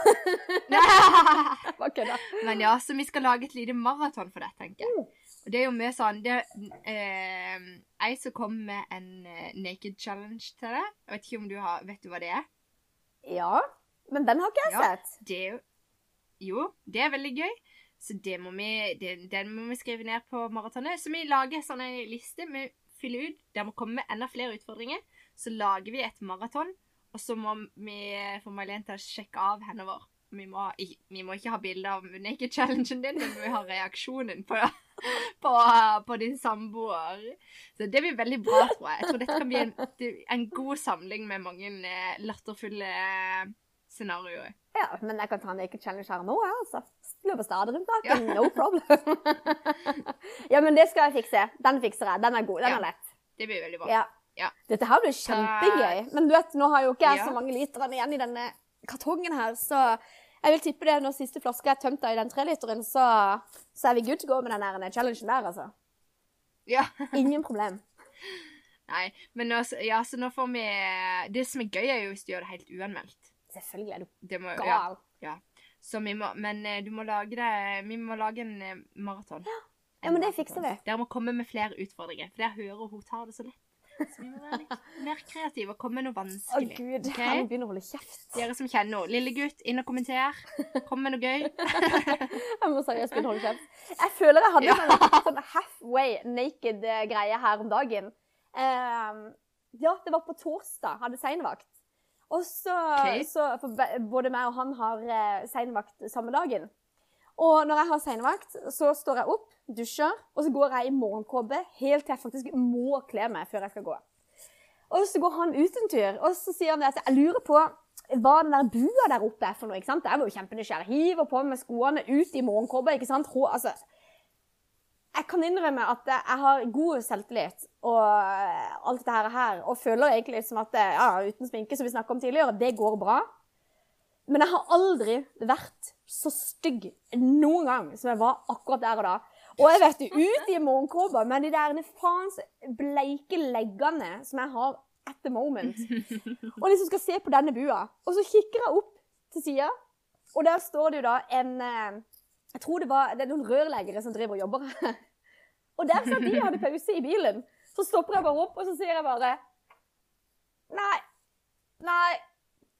Speaker 2: bare kødda.
Speaker 1: Men ja, så vi skal lage et lite maraton for det, tenker jeg. Og det er jo mye sånn det, eh, Jeg som kom med en eh, naked challenge til deg. Jeg vet ikke om du har, vet du hva det er?
Speaker 2: Ja. Men den har ikke jeg
Speaker 1: Ja.
Speaker 2: sett.
Speaker 1: Det er jo Jo, det er veldig gøy. Så det må vi, det, den må vi skrive ned på maratonet. Så vi lager sånn en liste. Vi fyller ut. Der må komme med enda flere utfordringer. Så lager vi et maraton. Og så må vi få Mailen til å sjekke av hendene våre. Vi må, i- vi må ikke ha bilde av naked challengen din, men vi må ha reaksjonen på, på, på din samboer. Så det blir veldig bra, tror jeg. Jeg tror dette kan bli en, det- en god samling med mange eh, latterfulle eh, scenarioer.
Speaker 2: Ja, men jeg kan ta en naked challenge her nå, jeg, altså. Løpe stadig rundt naken, no problem. ja, men det skal jeg fikse. Den fikser jeg. Den er god, den
Speaker 1: Ja.
Speaker 2: er lett.
Speaker 1: Det blir veldig bra.
Speaker 2: Ja.
Speaker 1: Ja.
Speaker 2: Dette her blir kjempegøy. Men du vet, nå har jo ikke
Speaker 1: Ja.
Speaker 2: jeg så mange literne igjen i denne kartongen her, så jeg vil tippe det når siste flaske er tømt av i den treliteren, så, så er vi good to go med den her challengen der, altså.
Speaker 1: Ja.
Speaker 2: Ingen problem.
Speaker 1: Nei, men nå, ja, så nå får vi Det som er gøy, er jo hvis du gjør det helt uanmeldt.
Speaker 2: Selvfølgelig er du
Speaker 1: Det må, ja.
Speaker 2: gal.
Speaker 1: Så vi må, men eh, du må lage det Vi må lage en eh, maraton.
Speaker 2: Ja, men det fikser vi.
Speaker 1: Dere må komme med flere utfordringer, for jeg hører hun tar det så lett. Så vi må være litt mer kreative og komme med noe
Speaker 2: Å
Speaker 1: vanskelig.
Speaker 2: gud,
Speaker 1: Ok.
Speaker 2: jeg må begynne å holde kjeft.
Speaker 1: Dere som kjenner henne. Lille gutt, inn og kommenter. Kom med noe gøy.
Speaker 2: Jeg må seriøst begynne å holde kjeft. Jeg føler jeg hadde
Speaker 1: Ja.
Speaker 2: en sånn- sånn halfway naked eh, greie her om dagen. Ehm, Ja, det var på torsdag. Hadde seinvakt. Og så,
Speaker 1: Ok.
Speaker 2: så for be- Både meg og han har eh, seinvakt samme dagen. Og når jeg har seinvakt, så står jeg opp, dusjer, og så går jeg i morgenkåpe helt til jeg faktisk må kle meg før jeg skal gå. Og så går han ut en tur, og så sier han det at jeg lurer på hva den der bua der oppe er for noe. ikke sant? Jeg var jo kjempenysgjerrig. Hiver på meg skoene, ut i morgenkåpe, ikke sant. Hå, altså, jeg kan innrømme at eh, jeg har god selvtillit og eh, alt dette her, og føler egentlig som at eh, ja, uten sminke, som vi snakket om tidligere, det går bra. Men jeg har aldri vært så stygg noen gang som jeg var akkurat der og da. Og jeg vet jo, ut i morgenkåpa med de der faens bleike leggene som jeg har at the moment, og liksom skal se på denne bua. Og så kikker jeg opp til sida, og der står det jo da en eh, Jeg tror det, var, det er noen rørleggere som driver og jobber her. Og der satt de og hadde pause i bilen. Så stopper jeg bare opp, og så sier jeg bare Nei. Nei.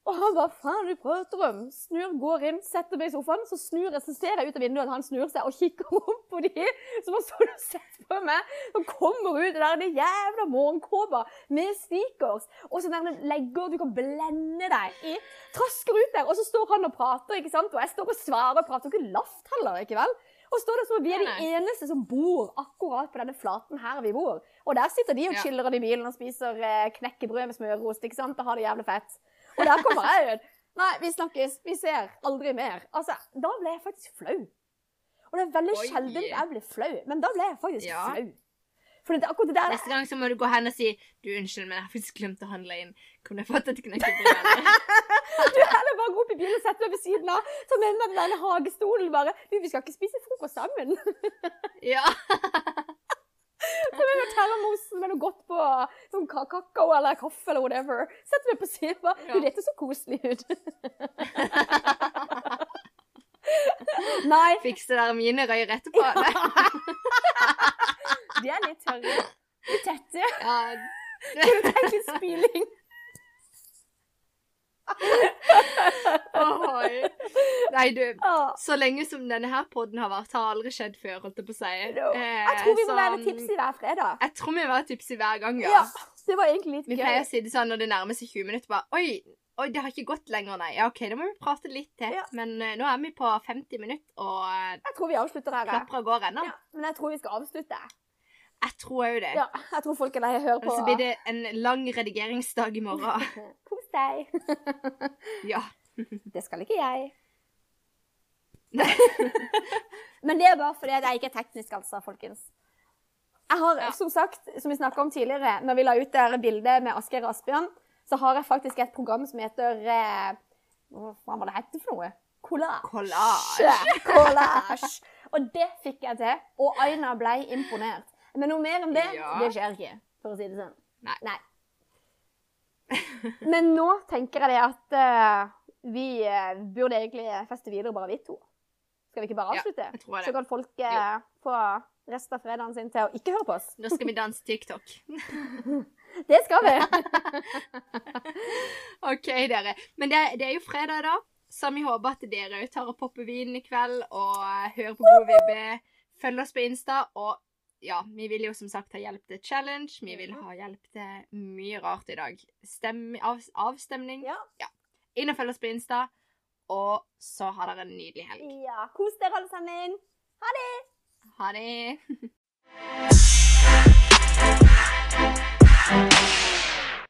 Speaker 2: Og han bare Faen, du prater om? Snur, går inn, setter meg i sofaen. Så snur jeg, så ser jeg ut av vinduet at han snur seg og kikker opp på de som har stått og sett på meg. Og kommer ut i der den jævla morgenkåpa med sneakers. Og så nærmest legger du kan blende deg i. Trasker ut der. Og så står han og prater, ikke sant. Og jeg står og svarer og prater. Og ikke lavt heller, ikke vel. Og står der som om vi er
Speaker 1: Nei,
Speaker 2: de
Speaker 1: nei.
Speaker 2: eneste som bor akkurat på denne flaten her vi bor. Og der sitter de og
Speaker 1: Ja.
Speaker 2: chiller i bilen og spiser eh, knekkebrød med smørost ikke sant? og har det jævlig fett. Og der kommer jeg ut. Nei, vi snakkes. Vi ser. Aldri mer. Altså, da ble jeg faktisk flau. Og det er veldig
Speaker 1: Oi.
Speaker 2: sjeldent jeg blir flau, men da ble jeg faktisk
Speaker 1: Ja.
Speaker 2: flau. For det, akkurat det der
Speaker 1: Neste gang så må du gå hen og si Du, unnskyld, men jeg har faktisk glemt å handle inn. Kunne jeg fått et knekkebrød? eller?»
Speaker 2: Du heller bare gå opp i bilen og sette meg ved siden av. Ta med meg den der hagestolen bare. Du, vi skal ikke spise frokost sammen.
Speaker 1: Ja.
Speaker 2: Jeg forteller mosen med noe godt på sånn ka- kakao eller kaffe eller whatever. Setter meg på siden. bare, Du,
Speaker 1: Ja.
Speaker 2: dette så koselig ut. Nei,
Speaker 1: Fikse dere mine røyer etterpå? Nei.
Speaker 2: de er litt tørre. Litt tette.
Speaker 1: Ja.
Speaker 2: Kunne tenkt litt spyling.
Speaker 1: Ohoi. Nei, du.
Speaker 2: Ah.
Speaker 1: Så lenge som denne her podden har vært, har aldri skjedd før, holdt jeg på å si.
Speaker 2: No.
Speaker 1: Eh,
Speaker 2: Jeg tror vi må
Speaker 1: så,
Speaker 2: være tipsy hver fredag.
Speaker 1: Jeg tror vi må være tipsy hver gang, ja.
Speaker 2: Ja, det var egentlig
Speaker 1: Vi
Speaker 2: litt
Speaker 1: pleier
Speaker 2: gøy.
Speaker 1: å si det sånn når det nærmer seg 20 minutter, bare Oi, oi det har ikke gått lenger, nei. Ja, OK, da må vi prate litt til.
Speaker 2: Ja.
Speaker 1: Men eh, nå er vi på 50 minutter, og eh,
Speaker 2: Jeg tror vi avslutter her. jeg.
Speaker 1: klapper av gårde ennå.
Speaker 2: Ja, men jeg tror vi skal avslutte.
Speaker 1: Jeg tror òg det.
Speaker 2: Ja, jeg tror folk er lei av å høre
Speaker 1: Og så blir
Speaker 2: på.
Speaker 1: det en lang redigeringsdag i morgen.
Speaker 2: Kos deg.
Speaker 1: Ja.
Speaker 2: Det skal ikke jeg.
Speaker 1: Nei.
Speaker 2: Men det er bare fordi at jeg ikke er teknisk ansvar, folkens. Jeg har,
Speaker 1: Ja.
Speaker 2: som sagt, som vi snakket om tidligere, når vi la ut der bildet med Asgeir og Asbjørn, så har jeg faktisk et program som heter eh, Hva faen var det hette for noe? Collage.
Speaker 1: Collage.
Speaker 2: Collage. Og det fikk jeg til, og Aina ble imponert. Men noe mer enn det,
Speaker 1: Ja.
Speaker 2: det skjer ikke, for å si det sånn.
Speaker 1: Nei.
Speaker 2: Men nå tenker jeg det at eh, vi eh, burde egentlig feste videre bare vi to. Skal vi ikke bare
Speaker 1: Ja,
Speaker 2: avslutte?
Speaker 1: jeg tror det.
Speaker 2: Så kan folk eh, få resten av fredagen sin til å ikke høre på oss.
Speaker 1: Nå skal vi danse TikTok.
Speaker 2: Det skal vi!
Speaker 1: OK, dere. Men det, det er jo fredag i dag, så vi håper at dere òg tar og popper vinen i kveld og eh, hører på gode vibber. Følg oss på Insta. Og ja, vi vil jo som sagt ha hjelp til challenge. Vi vil ha hjelp til mye rart i dag. Stem, av, avstemning.
Speaker 2: Ja.
Speaker 1: Inn og følg oss på Insta. Og så har dere en nydelig helg.
Speaker 2: ja. Kos dere, alle sammen!
Speaker 1: Ha det.